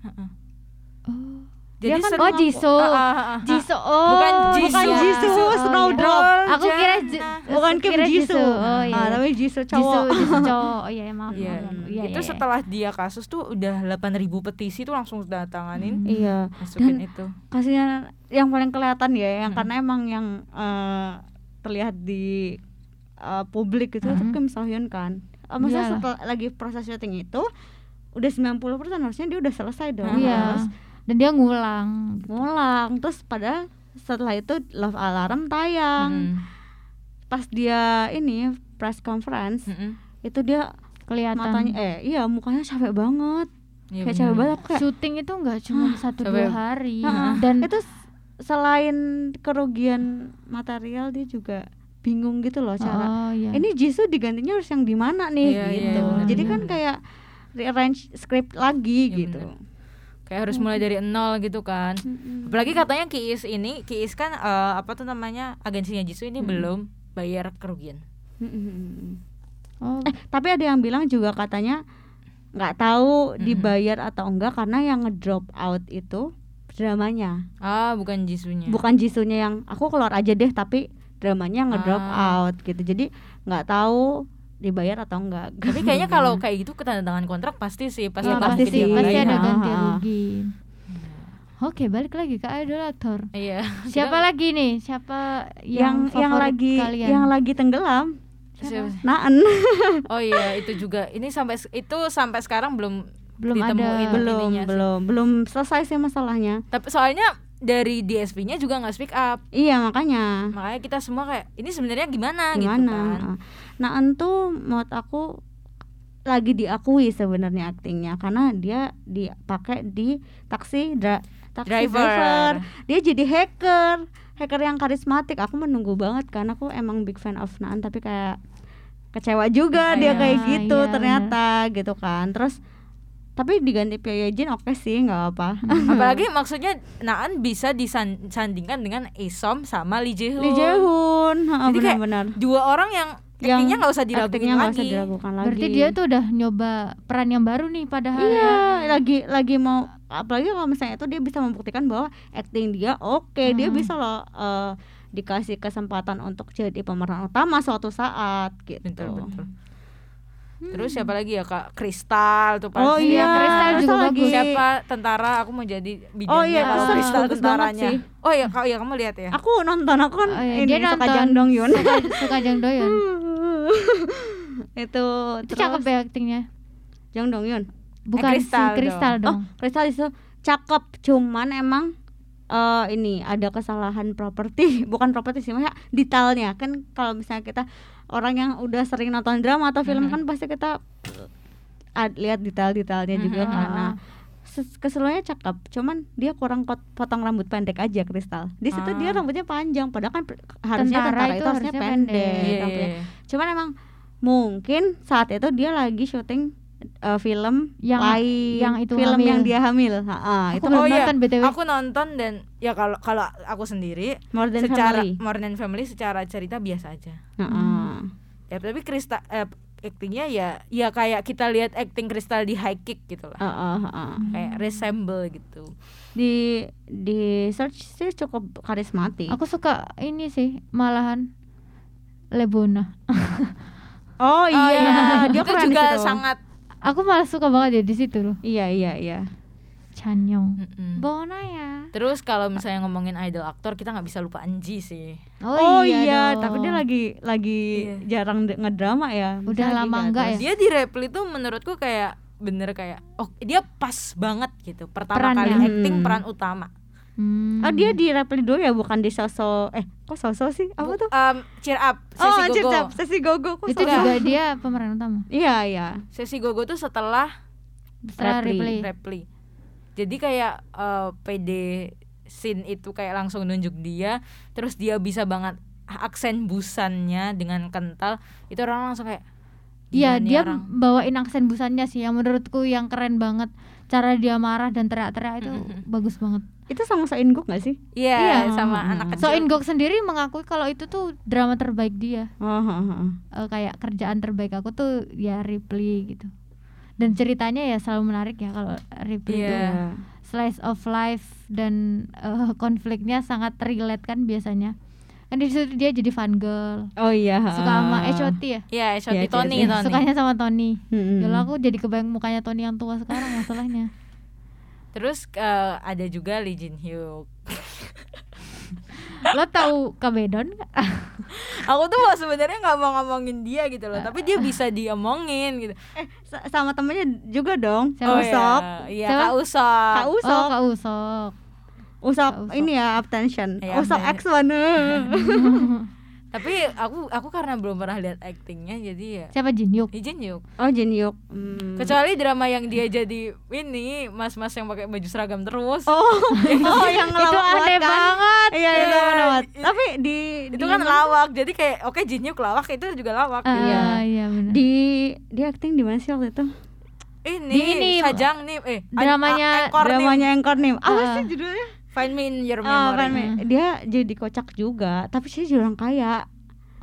C: oh.
B: Jadi
C: dia kan
B: seneng
C: oh
B: aku-
C: Jisoo
B: Ah, ah, ah, ah.
C: Jisoo oh,
B: Bukan
D: bukan
B: Jisoo.
D: Jisoo
B: Oh,
D: Snowdrop
B: iya.
C: aku kira Ji-
D: bukan Kim
C: kira
D: Jisoo,
C: oh iya
D: Ah,
C: iya.
D: tapi
C: Jisoo
D: Jisoo cowok
C: Jisoo cowok oh iya iya, maaf
B: Iya.
C: maaf, maaf. iya
D: Gitu
B: itu
C: iya, iya.
B: setelah dia kasus tuh udah 8000 petisi tuh langsung datanganin
C: Hmm.
D: iya
B: masukin itu.
D: kasihan yang paling kelihatan ya yang
B: Mm.
D: karena emang yang eh, terlihat di eh, publik itu
B: Mm.
D: Kim So Hyun kan Eh, maksudnya
C: Iyalah.
D: setelah lagi proses syuting itu udah 90% harusnya dia udah selesai dong
B: Mm.
C: iya
D: Terus
C: dan dia ngulang
D: ngulang terus pada setelah itu Love Alarm
B: Mm.
D: tayang pas dia ini press conference
B: Mm-mm.
D: itu dia
C: kelihatan
D: matanya eh iya mukanya capek banget
B: Iya,
D: kayak
B: bener.
D: capek banget aku kayak
C: syuting itu nggak cuma satu
B: sampai-
C: dua hari
D: Heeh.
C: dan
D: Nah, itu s- selain kerugian material dia juga bingung gitu loh
C: oh
D: cara
C: iya
D: ini Jisoo digantinya harus yang di mana nih
B: Iya, iya,
D: gitu
B: benar,
D: jadi
B: benar,
D: kan
B: benar.
D: kayak rearrange script lagi
B: Iya,
D: gitu
B: benar. Kayak harus
C: Hmm.
B: mulai dari nol gitu kan. Apalagi katanya Kiis ini, Kiis kan eh, apa tuh namanya agensinya Jisoo
C: Hmm.
B: ini belum bayar kerugian.
D: Mm-mm.
C: oh
D: eh tapi ada yang bilang juga katanya nggak tahu dibayar atau enggak karena yang ngedrop out itu dramanya
B: Ah, bukan Jisoo-nya.
D: bukan Jisoo-nya yang aku keluar aja deh tapi dramanya ngedrop
B: Ah.
D: out gitu jadi nggak tahu dibayar atau enggak
B: Tapi kayaknya kalau kayak gitu ketanda tangan kontrak pasti sih pasti,
C: iya,
B: ada
C: pasti
B: ganti
C: sih
B: dia
C: pasti
B: bayar.
C: ada ganti
D: Heeh.
C: rugi oke balik lagi ke idol aktor
B: Iya.
C: siapa lagi nih siapa yang
D: yang yang
C: favorit
D: lagi
C: kalian?
D: yang lagi tenggelam
B: Siapa?
D: Naan
B: Oh iya, itu juga. Ini sampai itu sampai sekarang belum
C: belum
B: ditemuin.
C: ada
D: belum
B: ininya sih.
D: belum belum selesai sih masalahnya
B: tapi soalnya dari DSP-nya juga nggak speak up.
D: iya makanya
B: Makanya kita semua kayak ini sebenarnya gimana, gitu kan.
D: gimana Naan tuh menurut aku lagi diakui sebenarnya aktingnya karena dia dipakai di taksi dra- taksi driver.
B: Driver.
D: dia jadi hacker hacker yang karismatik aku menunggu banget karena aku emang big fan of Naan tapi kayak kecewa juga dia
C: Iya,
D: kayak gitu
C: iya,
D: ternyata gitu kan terus tapi diganti Pyo Jin oke sih nggak apa
B: Apalagi maksudnya Naan bisa disandingkan dengan Isom sama Lee Jae-hoon.
D: Lee Jae-hoon, heeh,
B: Jadi kayak
D: benar-benar.
B: Dua orang yang aktingnya nggak usah
D: actingnya
B: diragukan
D: nggak
B: lagi.
D: usah diragukan lagi.
C: berarti dia tuh udah nyoba peran yang baru nih padahal
D: Iya,
C: ya.
D: lagi lagi mau apalagi kalau misalnya itu dia bisa membuktikan bahwa acting dia oke, dia
C: Hmm.
D: bisa loh eh, dikasih kesempatan untuk jadi pemeran utama suatu saat gitu. Hmm.
B: Betul, betul. Terus siapa lagi ya Kak? Kristal tuh pasti. ya.
D: Oh iya,
C: Iya, Kristal
D: Kristal
C: juga
D: lagi.
C: bagus.
B: Siapa tentara aku mau jadi bidangnya
D: Oh iya,
B: kalau
C: Kristal
B: Kristal
D: bagus banget
B: tentaranya.
D: sih.
B: Oh iya, kau ya kamu lihat ya.
D: Aku nonton, aku kan
C: Oh, iya,
D: ini
C: dia
D: suka
C: nonton
D: Jandong Yun.
C: suka, suka Jang Doyon
D: itu
C: itu cakep ya aktingnya
D: Jang Dong Yun.
C: bukan
B: Kristal
C: si Kristal
D: Oh,
C: dong,
D: Kristal itu cakep cuman emang eh, ini ada kesalahan properti bukan properti sih maksudnya detailnya kan kalau misalnya kita orang yang udah sering nonton drama atau film
B: Mhm.
D: kan pasti kita ad- lihat detail-detailnya juga kan.
B: Mhm.
D: karena keseluruhannya cakep cuman dia kurang kot- potong rambut pendek aja kristal di situ
B: Ah.
D: dia rambutnya panjang padahal kan per- harusnya tentara, itu, harusnya pendek,
B: Iya, iya,
D: rambutnya.
B: iya.
D: cuman emang mungkin saat itu dia lagi syuting eh, film
C: Yang-
D: lain
C: yang itu
D: film
C: hamil.
D: yang dia hamil Ha, ah,
C: Aku
D: itu
B: Oh
C: belum
B: iya,
C: nonton BTW.
B: Aku nonton dan ya kalau kalau aku sendiri
D: more than
B: secara
D: family
B: More Than Family secara cerita biasa aja.
D: Ha, ah.
C: Hmm.
B: Ya, tapi Krista eh, actingnya ya ya kayak kita lihat acting Kristal di High Kick gitu lah.
D: Ah, ah, ah, ah.
B: Kayak resemble gitu.
D: di di search sih cukup karismatik
C: Aku suka ini sih malahan Lebona.
D: oh
C: iya.
B: iya,
D: dia
B: itu
D: keren di
B: juga
D: situ.
B: sangat
C: Aku malah suka banget ya di situ loh.
D: iya iya iya
C: Chanyong.
D: Hmm.
B: Mm-mm.
C: Bona ya.
B: Terus kalau misalnya ngomongin idol aktor kita nggak bisa lupa Anji sih.
D: Oh, iya, tapi dia
C: dong. Iya.
D: lagi lagi jarang de- ngedrama ya.
C: Udah
D: Misalnya
C: lama
D: lagi
C: enggak ya?
B: Dia di Reply tuh menurutku kayak bener kayak oh dia pas banget gitu. Pertama
C: Perannya.
B: kali acting
D: Hmm.
B: peran utama.
C: Hmm.
D: atas. Oh, dia di Reply 2 ya, bukan di Soso. Eh, kok Soso sih? Apa
B: Bu-
D: tuh?
B: em, cheer up sesi
D: oh,
B: gogo.
D: Cicap, sesi gogo. Kok
C: itu
D: Soso?
C: juga dia pemeran utama.
D: Iya, iya.
B: Sesi gogo tuh setelah
C: Setelah
D: Reply.
C: replay.
B: Reply. Jadi kayak eh, PD scene itu kayak langsung nunjuk dia, terus dia bisa banget aksen busannya dengan kental. Itu orang langsung kayak
C: Iya,
B: "Gila nih
C: dia
B: orang."
C: bawain aksen busannya sih yang menurutku yang keren banget. Cara dia marah dan teriak-teriak itu
B: Mm-mm.
C: bagus banget.
D: Itu sama Soin Guk gak sih?
B: Iya,
C: Iya.
B: sama
D: Hmm.
B: anak kecil.
C: So Ingok sendiri mengakui kalau itu tuh drama terbaik dia.
D: Oh, oh, oh.
C: Eh, kayak kerjaan terbaik aku tuh ya Ripley gitu. Dan ceritanya ya selalu menarik ya kalau Ripley
B: Iya.
D: Ya.
C: tuh slice of life dan eh, konfliknya sangat relate kan biasanya. Kan di situ dia jadi fan girl.
D: Oh iya.
C: Suka sama eh Shotty ya.
B: Iya, Shotty
D: Iya, iya,
B: Tony,
D: iya.
B: Tony.
C: Sukanya sama Tony.
D: Mm-mm.
C: Yalah, aku jadi kebayang mukanya Tony yang tua sekarang masalahnya.
B: Terus eh, ada juga Lee Jin Hyuk.
C: lo tahu kabedon nggak?
B: Aku tuh mau sebenarnya nggak mau ngomongin dia gitu loh, tapi dia bisa diomongin gitu.
D: eh, Sa- sama temennya juga dong.
C: Siapa?
B: iya.
D: Usop.
B: Iya,
C: Siapa?
B: Kak Usop.
D: Kak Usop.
C: oh kak usok
D: Usop.
C: Kak Usop.
D: ini ya abtention.
B: Iya,
D: Usop
B: bener.
D: X1.
B: Tapi aku aku karena belum pernah lihat actingnya jadi ya
C: siapa Jinyuk
B: Lee Jin Hyuk.
D: oh, Jin Yuk. Hmm.
B: Kecuali drama yang dia jadi ini mas-mas yang pakai baju seragam terus.
D: Oh, oh yang
C: itu
D: ngelawak
C: aneh
D: kan?
C: banget
D: Iya, itu
B: Iya.
D: lawak. Tapi di
B: itu
D: di
B: kan
D: mana?
B: lawak. Jadi kayak oke Jin Hyuk lawak itu juga lawak.
C: Ah,
D: Iya.
C: iya benar
D: Di di acting di mana sih waktu itu?
B: Ini,
C: Di ini,
B: Sajang nih eh an- a-
C: dramanya-
B: anchor nih.
D: Dramanya yang Kornim. Apa
C: Ah.
D: sih judulnya?
B: Find Me in Your Memory.
D: Oh, kan, Me. dia jadi kocak juga, tapi sih jadi orang kaya.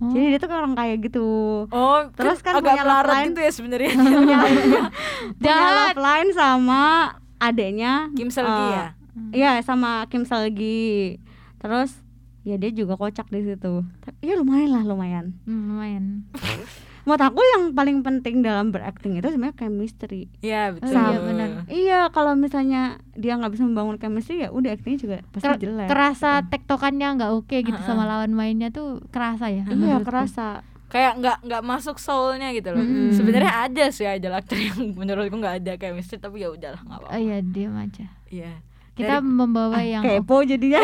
C: Oh.
D: Jadi dia tuh kayak orang kaya gitu.
B: Oh,
D: Terus kan
B: agak
D: punya
B: melarat
D: love line.
B: gitu ya sebenarnya.
D: Punya
C: Jahat.
D: love line sama adeknya
B: Kim Selgi
D: eh,
B: ya.
D: Iya, sama Kim Selgi. Terus ya dia juga kocak di situ. Tapi ya lumayan lah, lumayan.
C: Hmm, lumayan
D: Menurut aku yang paling penting dalam berakting itu sebenarnya chemistry.
B: Iya, betul.
C: Oh, iya, benar.
D: Iya, kalau misalnya dia nggak bisa membangun chemistry ya udah actingnya juga pasti
C: Ker-
D: jelek. gitu.
C: kerasa tektokannya nggak oke gitu sama lawan mainnya tuh kerasa ya
D: iya,
C: menurutku.
D: kerasa.
B: Kayak nggak nggak masuk soulnya gitu loh.
C: Mm-mm.
B: Sebenarnya ada sih idol aktor yang menurutku nggak ada chemistry tapi ya udahlah nggak
C: oh
B: apa-apa.
C: iya diam aja
B: Iya. Dari-
C: kita
D: Ah,
C: membawa yang
D: Kepo jadinya.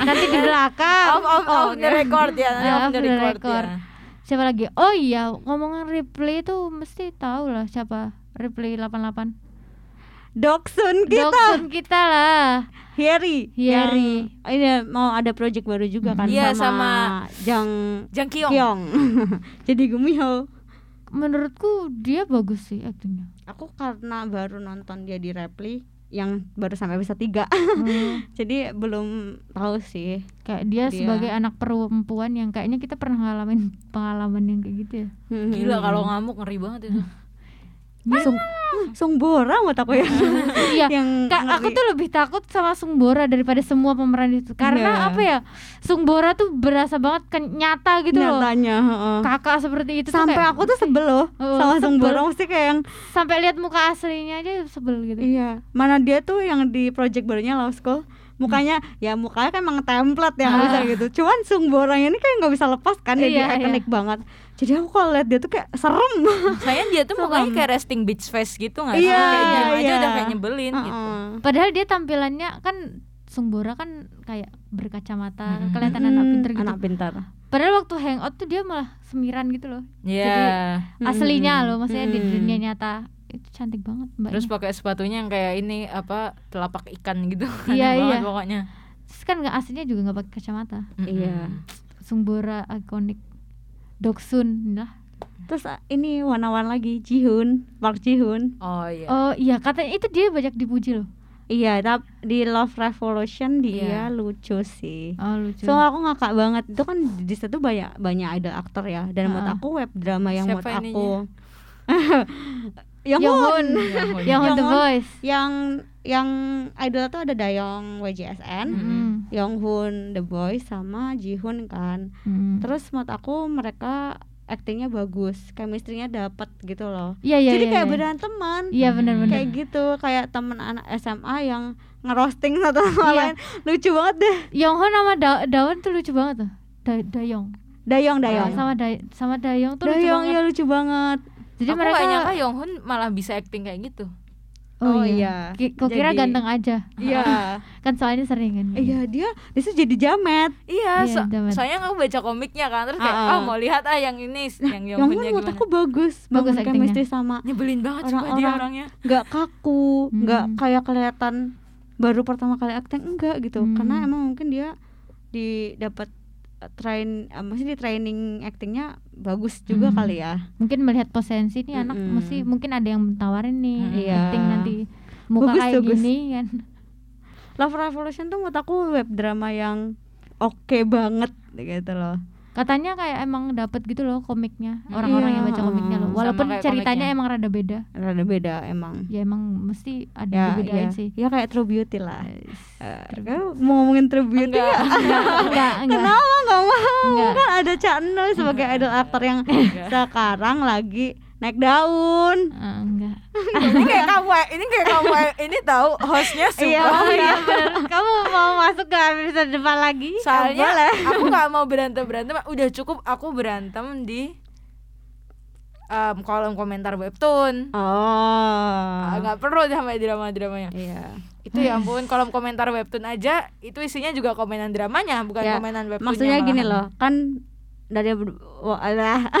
C: nanti di belakang
B: off off off the record ya, nanti
C: Ah,
B: off the
C: off the
B: record,
C: record.
B: ya.
C: siapa lagi oh iya ngomongan replay tuh mesti tahu lah siapa replay 88
D: Doksun kita.
C: Doksun kita lah
D: Hieri.
C: Hieri.
D: Yang ini mau ada project baru juga kan
B: Iya,
D: sama, Jang
B: Jang Kyung.
D: Kyong. Jadi Gumiho.
C: menurutku dia bagus sih aktingnya
D: Aku karena baru nonton dia di Reply yang baru sampai bisa tiga
C: Hmm.
D: jadi belum tahu sih
C: kayak dia,
D: Dia.
C: sebagai anak perempuan yang kayaknya kita pernah ngalamin pengalaman yang kayak gitu ya
D: Hmm.
B: Gila kalau ngamuk ngeri banget itu.
D: Sung, Sungbora menurut aku ya
C: iya
D: Yang
C: Kak, aku
D: ngeri.
C: tuh lebih takut sama Sungbora daripada semua pemeran itu
D: Iya.
C: karena apa ya Sungbora tuh berasa banget kan nyata gitu loh
D: nyatanya heeh.
C: kakak seperti itu tuh
D: sampai
C: kayak-
D: aku tuh sebel loh
C: Oh,
D: sama
C: sebel.
D: Sungbora mesti kayak yang
C: sampai lihat muka aslinya aja sebel gitu
D: iya mana dia tuh yang di project barunya Love School mukanya ya mukanya kan emang template ya
B: Ah.
D: nggak bisa gitu cuman Sung Borang ini kayak nggak bisa lepas kan ya dia
C: Iya, iya.
D: ikonik banget jadi aku kalau lihat dia tuh kayak serem
B: Saya dia tuh mukanya kayak resting beach face gitu nggak? sih?
D: Iya,
B: kayak diem aja
D: iya.
B: udah kayak nyebelin gitu.
D: Heeh.
C: Padahal dia tampilannya kan Sungbora kan kayak berkacamata,
B: Mm-mm.
C: kelihatan anak
D: Mm,
C: pinter gitu.
D: anak pintar
C: Padahal waktu hangout tuh dia malah semiran gitu loh.
B: Iya.
C: Aslinya loh, maksudnya di
D: Mm-mm.
C: dunia nyata. Itu cantik banget mbaknya.
B: Terus pakai sepatunya yang kayak ini apa telapak ikan gitu. Aneh
C: Iya,
B: banget
C: iya.
B: Pokoknya.
C: Terus kan nggak aslinya juga nggak pakai kacamata.
B: Mm-mm.
D: Iya.
C: Sungbora ikonik. Doksun nah. lah.
D: terus ah, ini wanawan lagi Jihoon Park Jihoon
B: Oh iya.
C: Oh iya katanya itu dia banyak dipuji loh.
D: iya tap- di Love Revolution
B: Iya.
D: dia lucu sih
C: Oh lucu.
D: So aku ngakak banget itu kan di situ banyak banyak ada aktor ya dan menurut
C: Ha-ha.
D: aku web drama yang
B: Siapa
D: menurut aku yang
C: Yohun.
B: Yohun.
C: Yang The
D: Yohun.
C: Voice.
D: yang yang idol tuh ada Dayong
C: Hmm.
D: WJSN,
B: Mm-mm.
D: Yonghun The Boys sama Jihoon kan.
C: Mm.
D: Terus menurut aku mereka aktingnya bagus, chemistry-nya dapet gitu loh.
C: Iya iya.
D: Jadi
C: iya,
D: kayak
C: iya.
D: beneran teman.
C: Iya benar benar.
D: Kayak gitu, kayak temen anak SMA yang ngerosting satu sama
C: Iya.
D: lain. Lucu banget deh.
C: Yonghon sama da Daun tuh lucu banget tuh. Da Dayong.
D: Dayong Dayong.
C: Sama Day- sama Dayong tuh lucu
D: Dayong
C: banget.
D: ya lucu banget.
C: Jadi
B: Aku
C: mereka
B: gak nyangka Yonghun malah bisa acting kayak gitu.
D: Oh, iya.
C: Ki- Kok kira
D: Jadi-
C: ganteng aja.
D: Iya.
C: Kan soalnya sering kan.
D: Iya, dia dia tuh jadi jamet.
B: Iya,
C: Iya,
B: so-
C: Damat.
B: soalnya aku baca komiknya kan terus kayak
D: Ya, Ah, ah.
B: oh mau lihat ah yang ini yang
D: Nah, Yang
B: Yonghunnya
D: menurut
B: gimana.
D: aku bagus,
C: Bagus
D: bagus
C: aktingnya.
D: chemistry sama
B: Nyebelin banget sumpah dia
D: Orang-orang.
B: orangnya.
D: nggak kaku,
C: Hmm.
D: nggak kayak kelihatan baru pertama kali acting enggak gitu.
C: Hmm.
D: Karena emang mungkin dia di dapat eh, train eh, maksudnya di training actingnya bagus juga
C: Hmm.
D: kali ya.
C: Mungkin melihat potensi nih anak
D: Mm-mm.
C: mesti mungkin ada yang tawarin nih
B: Mm,
D: iya.
C: acting nanti muka
D: Bagus,
C: kayak
D: bagus.
C: gini kan.
D: Love Revolution tuh menurut aku web drama yang oke banget gitu loh.
C: Katanya kayak emang dapet gitu loh komiknya orang-orang
D: Iya,
C: yang baca komiknya loh.
D: sama
C: Walaupun
B: kayak
C: ceritanya
B: komiknya.
C: emang rada beda.
D: Rada beda emang.
C: Ya emang mesti ada
D: Ya,
C: dibedain
D: ya,
C: sih.
D: ya kayak True Beauty lah.
C: Eh,
D: Eh, kamu mau ngomongin True Beauty
B: Enggak.
D: nggak?
C: enggak, enggak.
D: Kenapa nggak mau?
C: Enggak.
D: Kan ada Cak Noy sebagai idol aktor yang sekarang lagi naik daun.
C: Eh, enggak.
B: ini kayak kamu ini kayak kamu ini tahu hostnya
D: Iya,
B: sumpah
D: iya.
C: Kamu mau masuk ke episode depan lagi?
B: soalnya
D: boleh.
B: aku nggak mau berantem berantem udah cukup aku berantem di em, kolom komentar webtoon
D: Oh.
B: Ah, nggak perlu sampai drama dramanya
D: Iya.
B: itu ya ampun kolom komentar webtoon aja itu isinya juga komenan dramanya bukan
D: Ya,
B: komenan webtoonnya
D: Maksudnya gini
B: malahan.
D: loh, kan dari walah,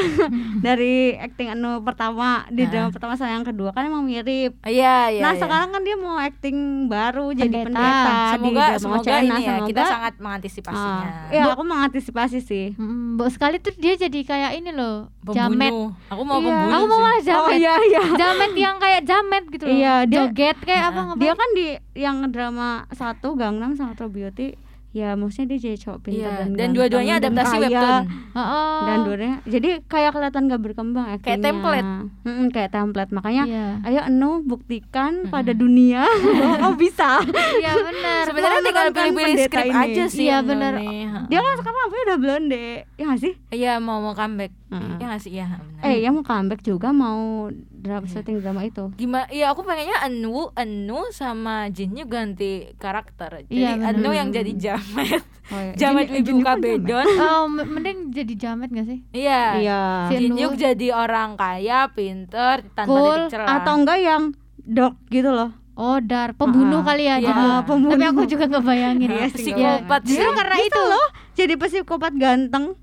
D: dari acting anu pertama di
B: Nah.
D: drama pertama sama yang kedua kan emang mirip.
B: iya iya iya.
D: nah, sekarang kan dia mau acting baru jadi
C: Pendeta.
D: pendeta di
B: Ah, semoga
D: drama
B: semoga
D: China,
B: ini ya kita
D: nah, semoga-
B: sangat mengantisipasinya
D: Ah, iya, aku mengantisipasi sih.
C: Mm, Mbok sekali tuh dia jadi kayak ini loh,
B: Pembunuh.
C: jamet.
B: aku mau
D: Iya.
B: pembunuh
C: Aku mau
B: sih.
C: malah
D: Oh
C: jamet.
D: iya iya.
C: Jamet yang kayak jamet gitu loh.
D: Iya, dia-
C: joget kayak apa ngapain?
D: Dia kan di yang drama satu Gangnam sama True Beauty ya maksudnya dia jadi cowok pintar
B: Iya,
D: dan,
B: dan
D: ganteng
B: dua-duanya
D: dan
B: adaptasi
D: kaya.
B: webtoon
C: Heeh.
D: dan duanya jadi kayak kelihatan gak berkembang actingnya
B: Kayak template.
D: Mm-mm, kayak template makanya
C: Iya.
D: ayo Enu buktikan pada dunia Oh, bahwa kamu bisa
C: Iya benar.
B: sebenarnya tinggal
D: Memenangkan
B: pilih-pilih
D: pendeta
B: skrip
D: ini.
B: aja sih
C: Iya,
B: yang
C: bener.
B: ini.
D: dia kan sekarang apa udah blonde ya gak sih
B: Iya mau mau comeback.
D: Heeh.
B: Iya nggak sih iya. benar.
D: Hmm. eh ya mau comeback juga mau drama syuting drama itu
B: Gimana? Iya aku pengennya Anu Anu sama Jinnya ganti karakter. Jadi
C: Iya, benar.
B: Anu yang jadi jamet,
D: Oh, iya.
B: jamet
D: Jin- Jin
B: ibu
D: kan jamet.
B: kabedon.
C: Oh, m- mending jadi jamet gak sih?
B: Iya.
D: iya
C: Si Anu.
B: Jinyuk jadi orang kaya, pinter, tanpa
C: Cool,
B: titik cerah.
D: atau enggak yang dok gitu loh
C: Oh, dar pembunuh
B: Ah,
C: kali ya.
B: iya.
C: jadi.
B: Ah,
D: pembunuh.
C: Tapi aku juga ngebayangin.
D: Iya,
C: Iya.
B: psikopat sih.
C: Justru karena
D: Gitu
C: itu.
D: loh jadi psikopat ganteng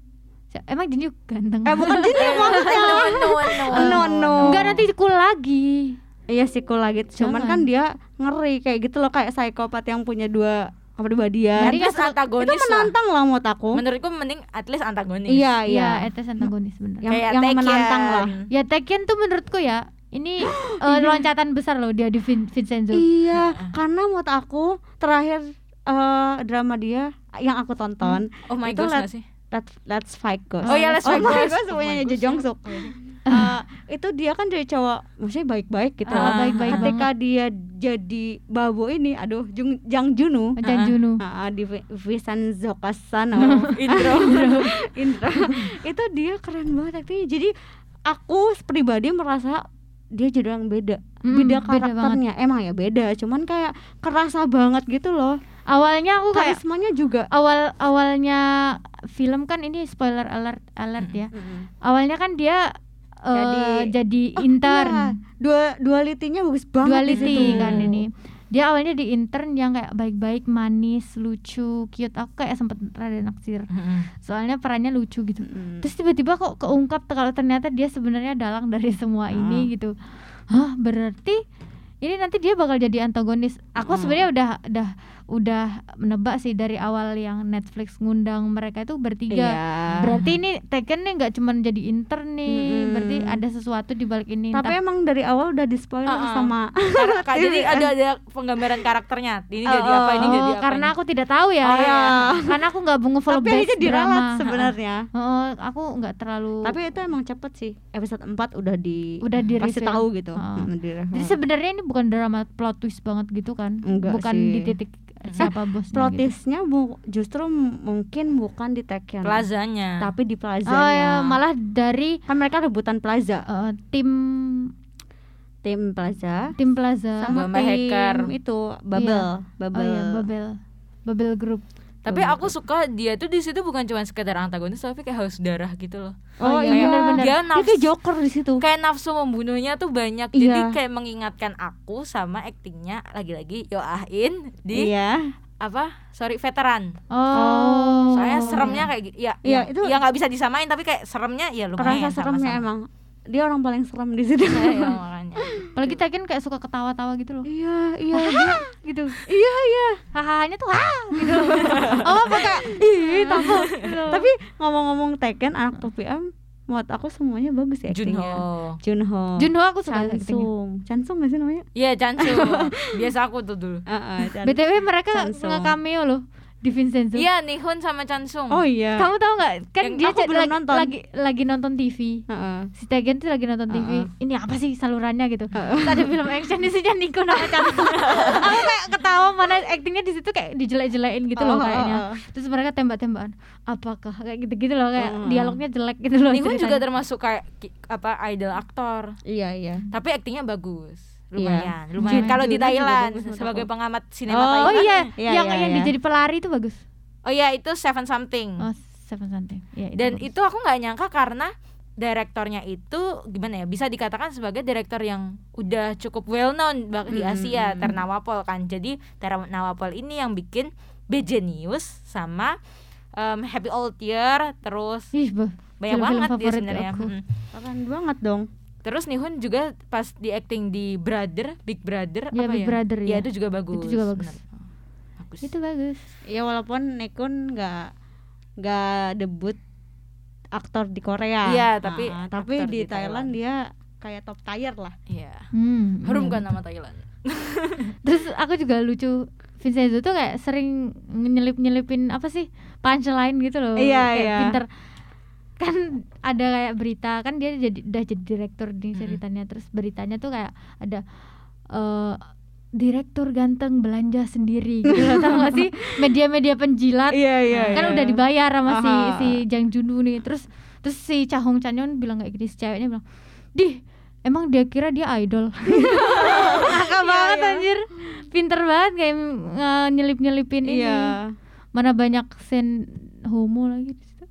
C: Emang jenuh ganteng.
D: eh bukan Jin ya maksudnya
B: Anu Anu Anu.
D: no no
C: Enggak nanti cool lagi.
D: iya sikul lagi cuman
C: Jangan.
D: kan dia ngeri kayak gitu loh kayak psikopat yang punya dua kepribadian
B: Jadi
C: Jadi kan
D: itu
B: antagonis lah.
D: menantang lah menurut aku
B: Menurutku mending at least antagonis.
D: iya iya Ya.
C: Iya, etes antagonis bener.
D: yang,
B: Kayak
D: yang
B: Taekyun.
D: menantang lah
C: Ya Tekken tuh menurutku ya ini eh, loncatan besar loh dia di Vin- Vincenzo.
D: iya karena menurut aku terakhir eh, drama dia yang aku tonton
B: Oh my
D: Itu
B: god
D: let-
B: nggak sih?
D: Let's, Let's Fight Ghost
B: Oh iya, Let's Fight Ghost.
D: Ghost
B: Oh my
D: punyanya
B: Ghost,
D: Jo Jong Suk Eh, itu dia kan dari cowok maksudnya baik-baik
B: Ah,
D: gitu loh.
C: baik-baik
D: ketika dia jadi babo ini aduh Jung, Jang Junu
C: Jan Junu.
D: Ah, di Vi- Vincenzo Cassano
B: Intro.
D: Indra itu dia keren banget aktingnya jadi aku pribadi merasa dia jadi orang beda
C: Mm,
D: beda
C: beda
D: karakternya emang ya beda cuman kayak kerasa banget gitu loh
C: awalnya aku kayak
D: karismanya juga
C: awal awalnya film kan ini spoiler alert alert ya awalnya kan dia eh,
D: Hmm. Jadi-
C: jadi,
D: Oh,
C: intern
D: iya. dua dualitinya bagus banget di
C: duality
D: situ. Hmm.
C: kan ini dia awalnya di intern yang kayak baik-baik manis lucu cute aku kayak sempet rada naksir
B: Mm-mm.
C: soalnya perannya lucu gitu
D: Mm.
C: terus tiba-tiba kok keungkap te- kalau ternyata dia sebenarnya dalang dari semua ini gitu hah berarti ini nanti dia bakal jadi antagonis aku
D: Hmm.
C: sebenarnya udah udah udah menebak sih dari awal yang Netflix ngundang mereka itu bertiga
B: Iya.
C: berarti ini Taken nih nggak cuman jadi intern nih
D: Mm-mm.
C: berarti ada sesuatu di balik ini
D: tapi
C: Entah-
D: emang dari awal udah di spoiler
C: Ah,
B: Uh-uh.
D: sama
B: Kar- kak, jadi
D: Ini kan.
B: ada ada penggambaran karakternya. Ini jadi
D: Oh,
B: apa? Ini
C: Oh,
B: jadi apa?
C: karena
B: ini?
C: aku tidak tahu ya
D: Oh, iya.
C: karena aku nggak nge-follow
D: tapi aja
C: base drama ah,
D: diralat sebenarnya
C: Heeh, aku nggak terlalu
D: tapi itu emang cepet sih episode 4 udah di
C: Udah di
D: pasti
C: reveal.
D: tahu gitu
C: Oh.
D: Mm, di reveal.
C: Jadi sebenarnya ini bukan drama plot twist banget gitu kan?
D: Enggak
C: bukan
D: sih.
C: di titik siapa bosnya
D: plot
C: gitu.
D: twistnya bu- Eh, justru m- mungkin bukan di Tekken
B: plazanya.
D: tapi di Plaza
C: Oh ya, malah dari
D: kan mereka rebutan Plaza
C: eh, tim
D: tim Plaza
C: tim Plaza.
D: sama
B: Bomber
D: tim
B: hacker.
D: itu Bubble
C: Oh
D: Bubble
C: ya, Babel. Babel Group.
B: Tapi aku suka dia tuh di situ bukan cuma sekedar antagonis, tapi kayak haus darah gitu loh.
D: Oh,
C: Oh,
D: iya
C: iya, benar-benar.
B: Dia
D: dia
B: nafsu
D: kayak Joker di situ
B: kayak nafsu membunuhnya tuh banyak. Jadi
D: Iya.
B: kayak mengingatkan aku sama aktingnya lagi-lagi Yoahin di
D: iya
B: apa? Sorry, veteran.
C: Oh.
B: Soalnya seremnya kayak gitu. Ya,
D: Iya,
B: ya,
D: itu-
B: ya nggak bisa disamain tapi kayak seremnya ya lumayan
D: kerasa seremnya emang dia orang paling serem di situ
B: Iya, makanya.
C: Apalagi Taken kayak suka ketawa-tawa gitu loh.
D: iya iya dia
C: gitu.
D: iya iya
C: Hahahanya tuh ha gitu. oh, pakai ih, tahu.
D: tapi ngomong-ngomong Tekken anak 2PM menurut aku semuanya bagus ya aktingnya
B: Junho.
D: Junho
C: Junho aku suka actingnya.
D: Chansung Chansung gak sih namanya?
B: Iya, Jansu. Biasa aku tuh dulu.
D: Heeh, Chan-
C: BTW mereka
D: Chansung.
C: nge-cameo loh di Vincenzo.
B: Iya, Nihun sama Chansung.
D: Oh iya
C: Kamu tahu nggak?
B: Yang
C: Kan dia
D: aku
C: cek-
D: belum
C: lagi,
D: nonton.
C: lagi lagi nonton TV.
D: Heeh.
C: Si Taegen tuh lagi nonton TV.
B: Uh-uh.
D: Heeh.
C: Ini apa sih salurannya gitu? Terus Ada film action isinya Niko sama Chansung. Aku kayak ketawa mana aktingnya di situ kayak dijelek-jelekin gitu
B: Uh-uh,
C: loh
D: Oh, oh,
C: kayaknya.
D: oh.
C: Terus mereka tembak-tembakan. Apakah kayak gitu-gitu loh kayak
D: Oh.
C: dialognya jelek gitu loh.
B: Nihun Uh-uh. juga
C: ceritanya.
B: termasuk kayak ki- apa idol aktor,
D: Iya iya
B: tapi aktingnya bagus. Lumayan,
D: Iya.
B: lumayan.
C: Jun-
B: Kalau di
D: Junnya juga
B: Thailand
D: bagus menurut
B: sebagai
D: aku.
B: pengamat sinema
D: Oh,
B: Thailand.
C: Oh iya,
D: Iya,
C: yang
D: iya,
C: yang
D: iya.
C: dijadi pelari itu bagus.
B: Oh iya, itu Seven Something.
C: Oh, Seven Something. Iya, itu
B: Hmm. Dan
C: bagus.
B: itu aku nggak nyangka karena direktornya itu gimana ya bisa dikatakan sebagai direktor yang udah cukup well known bak- di
C: Hmm,
D: Mm-mm.
B: Asia Ternawapol kan jadi Ternawapol ini yang bikin BJ News sama em, Happy Old Year terus
C: Ih, bah.
B: banyak
C: Iya, Film-film
B: banget dia
C: favorit
B: sebenarnya
C: aku.
B: Mm.
D: Keren banget dong
B: Terus Nihun juga pas di acting di Brother, Big Brother
C: Iya,
B: apa
C: Big
B: ya?
C: Brother,
B: ya.
C: ya.
B: itu juga bagus.
C: Itu juga bagus.
B: bener. Bagus.
C: Itu bagus.
D: Ya walaupun Nekun nggak nggak debut aktor di Korea.
B: Iya, tapi
D: Ah, tapi
B: aktor
D: di,
B: di Thailand.
D: Thailand, dia kayak top tier lah.
B: Iya.
C: Hmm.
B: Harum
C: iya,
B: kan
C: betul.
B: nama Thailand.
C: Terus aku juga lucu Vincenzo tuh kayak sering nyelip-nyelipin apa sih punchline gitu loh
D: Iya,
C: kayak
D: iya.
C: pinter kan ada kayak berita kan dia jadi udah jadi direktur di
B: Mm-mm.
C: ceritanya terus beritanya tuh kayak ada eh direktur ganteng belanja sendiri gitu loh tau gak sih media-media penjilat
D: Iya iya.
C: kan udah dibayar sama si
D: Aha.
C: si Jang Junwoo nih terus terus si Chahong Chanyeon bilang kayak gini si ceweknya bilang dih emang dia kira dia idol
D: iya.
C: nakal banget anjir pinter banget kayak nyelip nyelipin ini
D: Iya.
C: mana banyak sen homo lagi di situ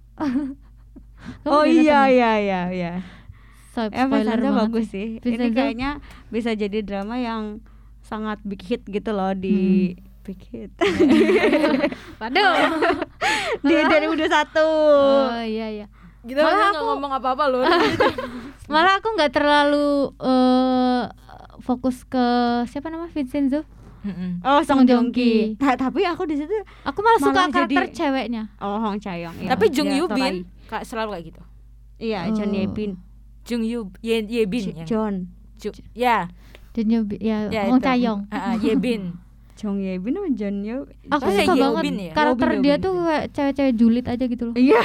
C: Kamu udah
D: Oh iya
C: nonton?
D: iya iya iya.
C: Spo-
D: Eh
C: spoiler
D: Vincenzo
C: banget
D: bagus sih. Ini
C: Vincenzo-
D: kayaknya bisa jadi drama yang sangat big hit gitu loh di
C: Hmm.
D: big hit.
C: waduh
D: di 2021.
C: oh iya iya
B: Kita
C: Malah
B: malah
C: aku-
B: ngomong apa-apa loh.
C: malah aku nggak terlalu eh, fokus ke siapa nama Vincenzo
B: Mm-mm.
D: Oh
C: Song
D: Song
C: Joong
D: Joong
C: Ki.
D: Ki. Ta- tapi aku di situ
C: aku malah, suka
D: Malah
C: karakter
D: jadi-
C: ceweknya
D: oh Hong Chayong.
B: Tapi Jung Yoo Bin kayak selalu kayak gitu.
D: Iya, John
C: Oh.
D: Ye Bin.
B: Jung Yoo Ye, Ye Bin yang-
D: John.
B: Ju- ya.
C: dan nyobi- ya,
B: ya
C: Hong
B: itu.
C: Chayong
B: Ah, ah, Ye Bin.
D: Jong Ye Bin sama John Yoo
C: aku
B: Soalnya
C: suka
B: Yeobin
C: banget
B: ya? Eh,
C: karakter
D: Yeobin,
C: dia
D: Yeobin.
C: tuh kayak cewek-cewek julid aja gitu loh
D: Iya.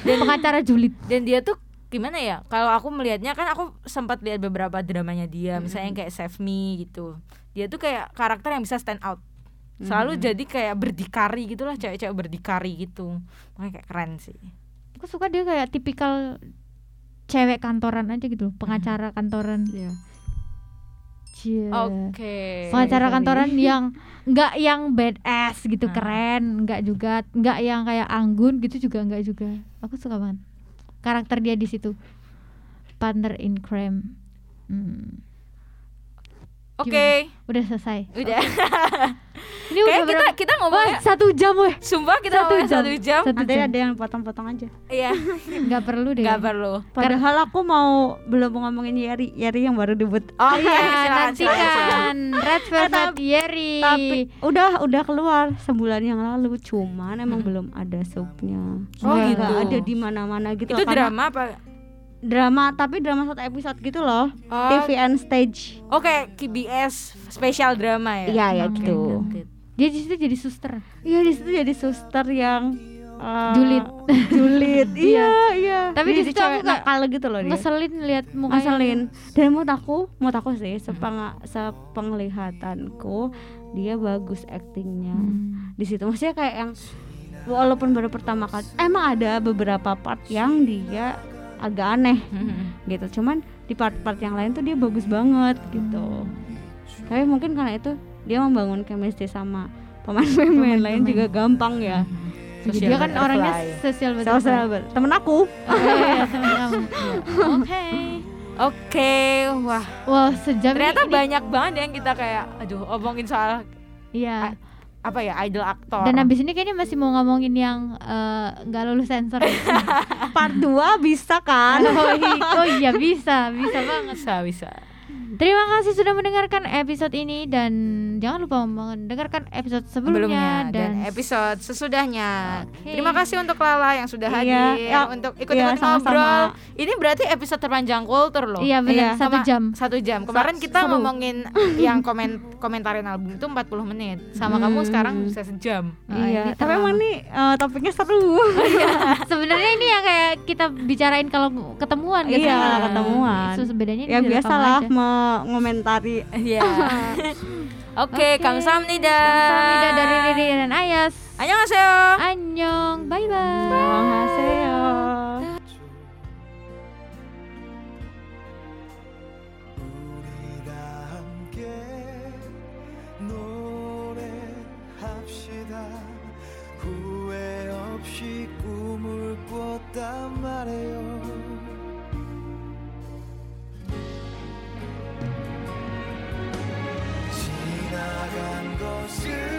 C: dan pengacara julid
B: Dan dia tuh gimana ya? Kalau aku melihatnya kan aku sempat lihat beberapa dramanya dia, misalnya yang kayak Save Me gitu. Dia tuh kayak karakter yang bisa stand out. Selalu jadi kayak berdikari gitulah cewek-cewek berdikari gitu. Makanya kayak keren sih.
C: aku suka
B: Hmm.
C: dia kayak tipikal cewek kantoran aja gitu loh pengacara kantoran
D: Iya.
C: aja
B: Oke.
C: Iya. pengacara
B: Sorry.
C: kantoran yang nggak yang badass
B: Nah.
C: gitu keren nggak juga nggak yang kayak anggun gitu juga nggak juga aku suka banget karakter dia di situ partner in crime Hmm.
B: Oke,
C: udah selesai
B: udah.
C: ini
B: Kayaknya kita
C: udah
B: ya?
C: berapa-
B: kita
C: Wah,
B: ngomongnya
C: satu jam weh
B: sumpah kita
C: satu
B: ngomongnya
C: jam.
B: satu jam.
C: Satu
D: Nanti
C: jam.
D: ada yang potong-potong aja.
B: Iya,
C: nggak perlu deh
B: nggak perlu.
D: Padahal aku mau belum ngomongin Yeri, Yeri yang baru debut.
B: Oh
C: iya
B: silakan, silakan.
C: nantikan red velvet Yeri
D: Tapi udah udah keluar sebulan yang lalu, cuman emang belum ada subnya.
B: Oh,
D: Nggak
B: gitu.
D: ada di mana-mana gitu.
B: Itu
D: karena
B: drama apa?
D: drama, tapi drama satu episode gitu loh.
B: Oh,
D: TV and stage.
B: Oke, KBS spesial drama ya.
D: ya
C: Oke, oke. dia di situ jadi suster
D: Iya di situ jadi suster yang eh,
C: Julid.
D: julid. iya, iya.
C: Tapi di
D: Jadi
C: situ aku
D: cewek
C: nggak-
D: nakal gitu loh dia.
C: ngeselin lihat mukanya
D: Ngeselin. Dan mau aku, mau aku sih sepeng sepenglihatanku dia bagus aktingnya.
C: Hmm.
D: Di situ maksudnya kayak yang walaupun baru pertama kali emang ada beberapa part yang dia agak aneh gitu. Cuman di part-part yang lain tuh dia bagus banget gitu. Tapi mungkin karena itu dia membangun chemistry sama pemain-pemain lain
C: Pemain-pemain.
D: juga gampang ya.
B: Social
C: dia kan
B: butterfly.
C: orangnya sosial
D: Salah
C: butterfly.
D: sabar. Temen aku.
C: Oh, iya, temen kamu. Oke.
B: Oke, wah
C: Wah, sejam ini-
B: ternyata
C: ini-
B: banyak banget yang kita kayak, aduh, omongin soal Ah,
C: Iya.
B: apa ya idol aktor.
C: Dan habis ini kayaknya masih mau ngomongin yang eh, nggak lulus sensor.
D: Part 2 bisa kan?
C: oh, i- oh iya bisa, bisa banget.
B: bisa bisa.
C: Terima kasih sudah mendengarkan episode ini dan jangan lupa mendengarkan episode sebelumnya,
B: Sebelumnya dan, episode sesudahnya.
C: Oke.
B: Terima kasih untuk Lala yang sudah
D: Iya,
B: hadir
D: ya,
B: untuk ikut-ikut
D: iya,
B: ngobrol.
D: sama-sama.
B: Ini berarti episode terpanjang kultur loh.
C: Iya benar,
D: Iya,
C: satu
B: Sama-
C: jam.
B: Satu jam. Kemarin kita
D: seru.
B: ngomongin yang komen komentarin album itu 40 menit. Sama kamu
C: Hmm.
B: sekarang bisa sejam.
C: Oh,
D: iya,
C: kita
D: tapi emang
C: lama.
D: nih eh, topiknya seru.
C: sebenarnya ini yang kayak kita bicarain kalau ketemuan gitu.
D: Iya,
C: kan.
D: kalau ketemuan.
C: Terus bedanya
D: ya
C: di rekam
D: biasalah
C: aja.
D: mengomentari
B: Iya. Oke,
C: Oke.
B: kamsahamnida.
C: Kamsahamnida dari Riri dan Ayas.
B: Annyeonghaseyo.
C: Annyeong, bye-bye.
D: Mahaseo.
A: 우리 다 함께 노래합시다 후회 없이 꿈을 꿨단 말이에요 지나간 것을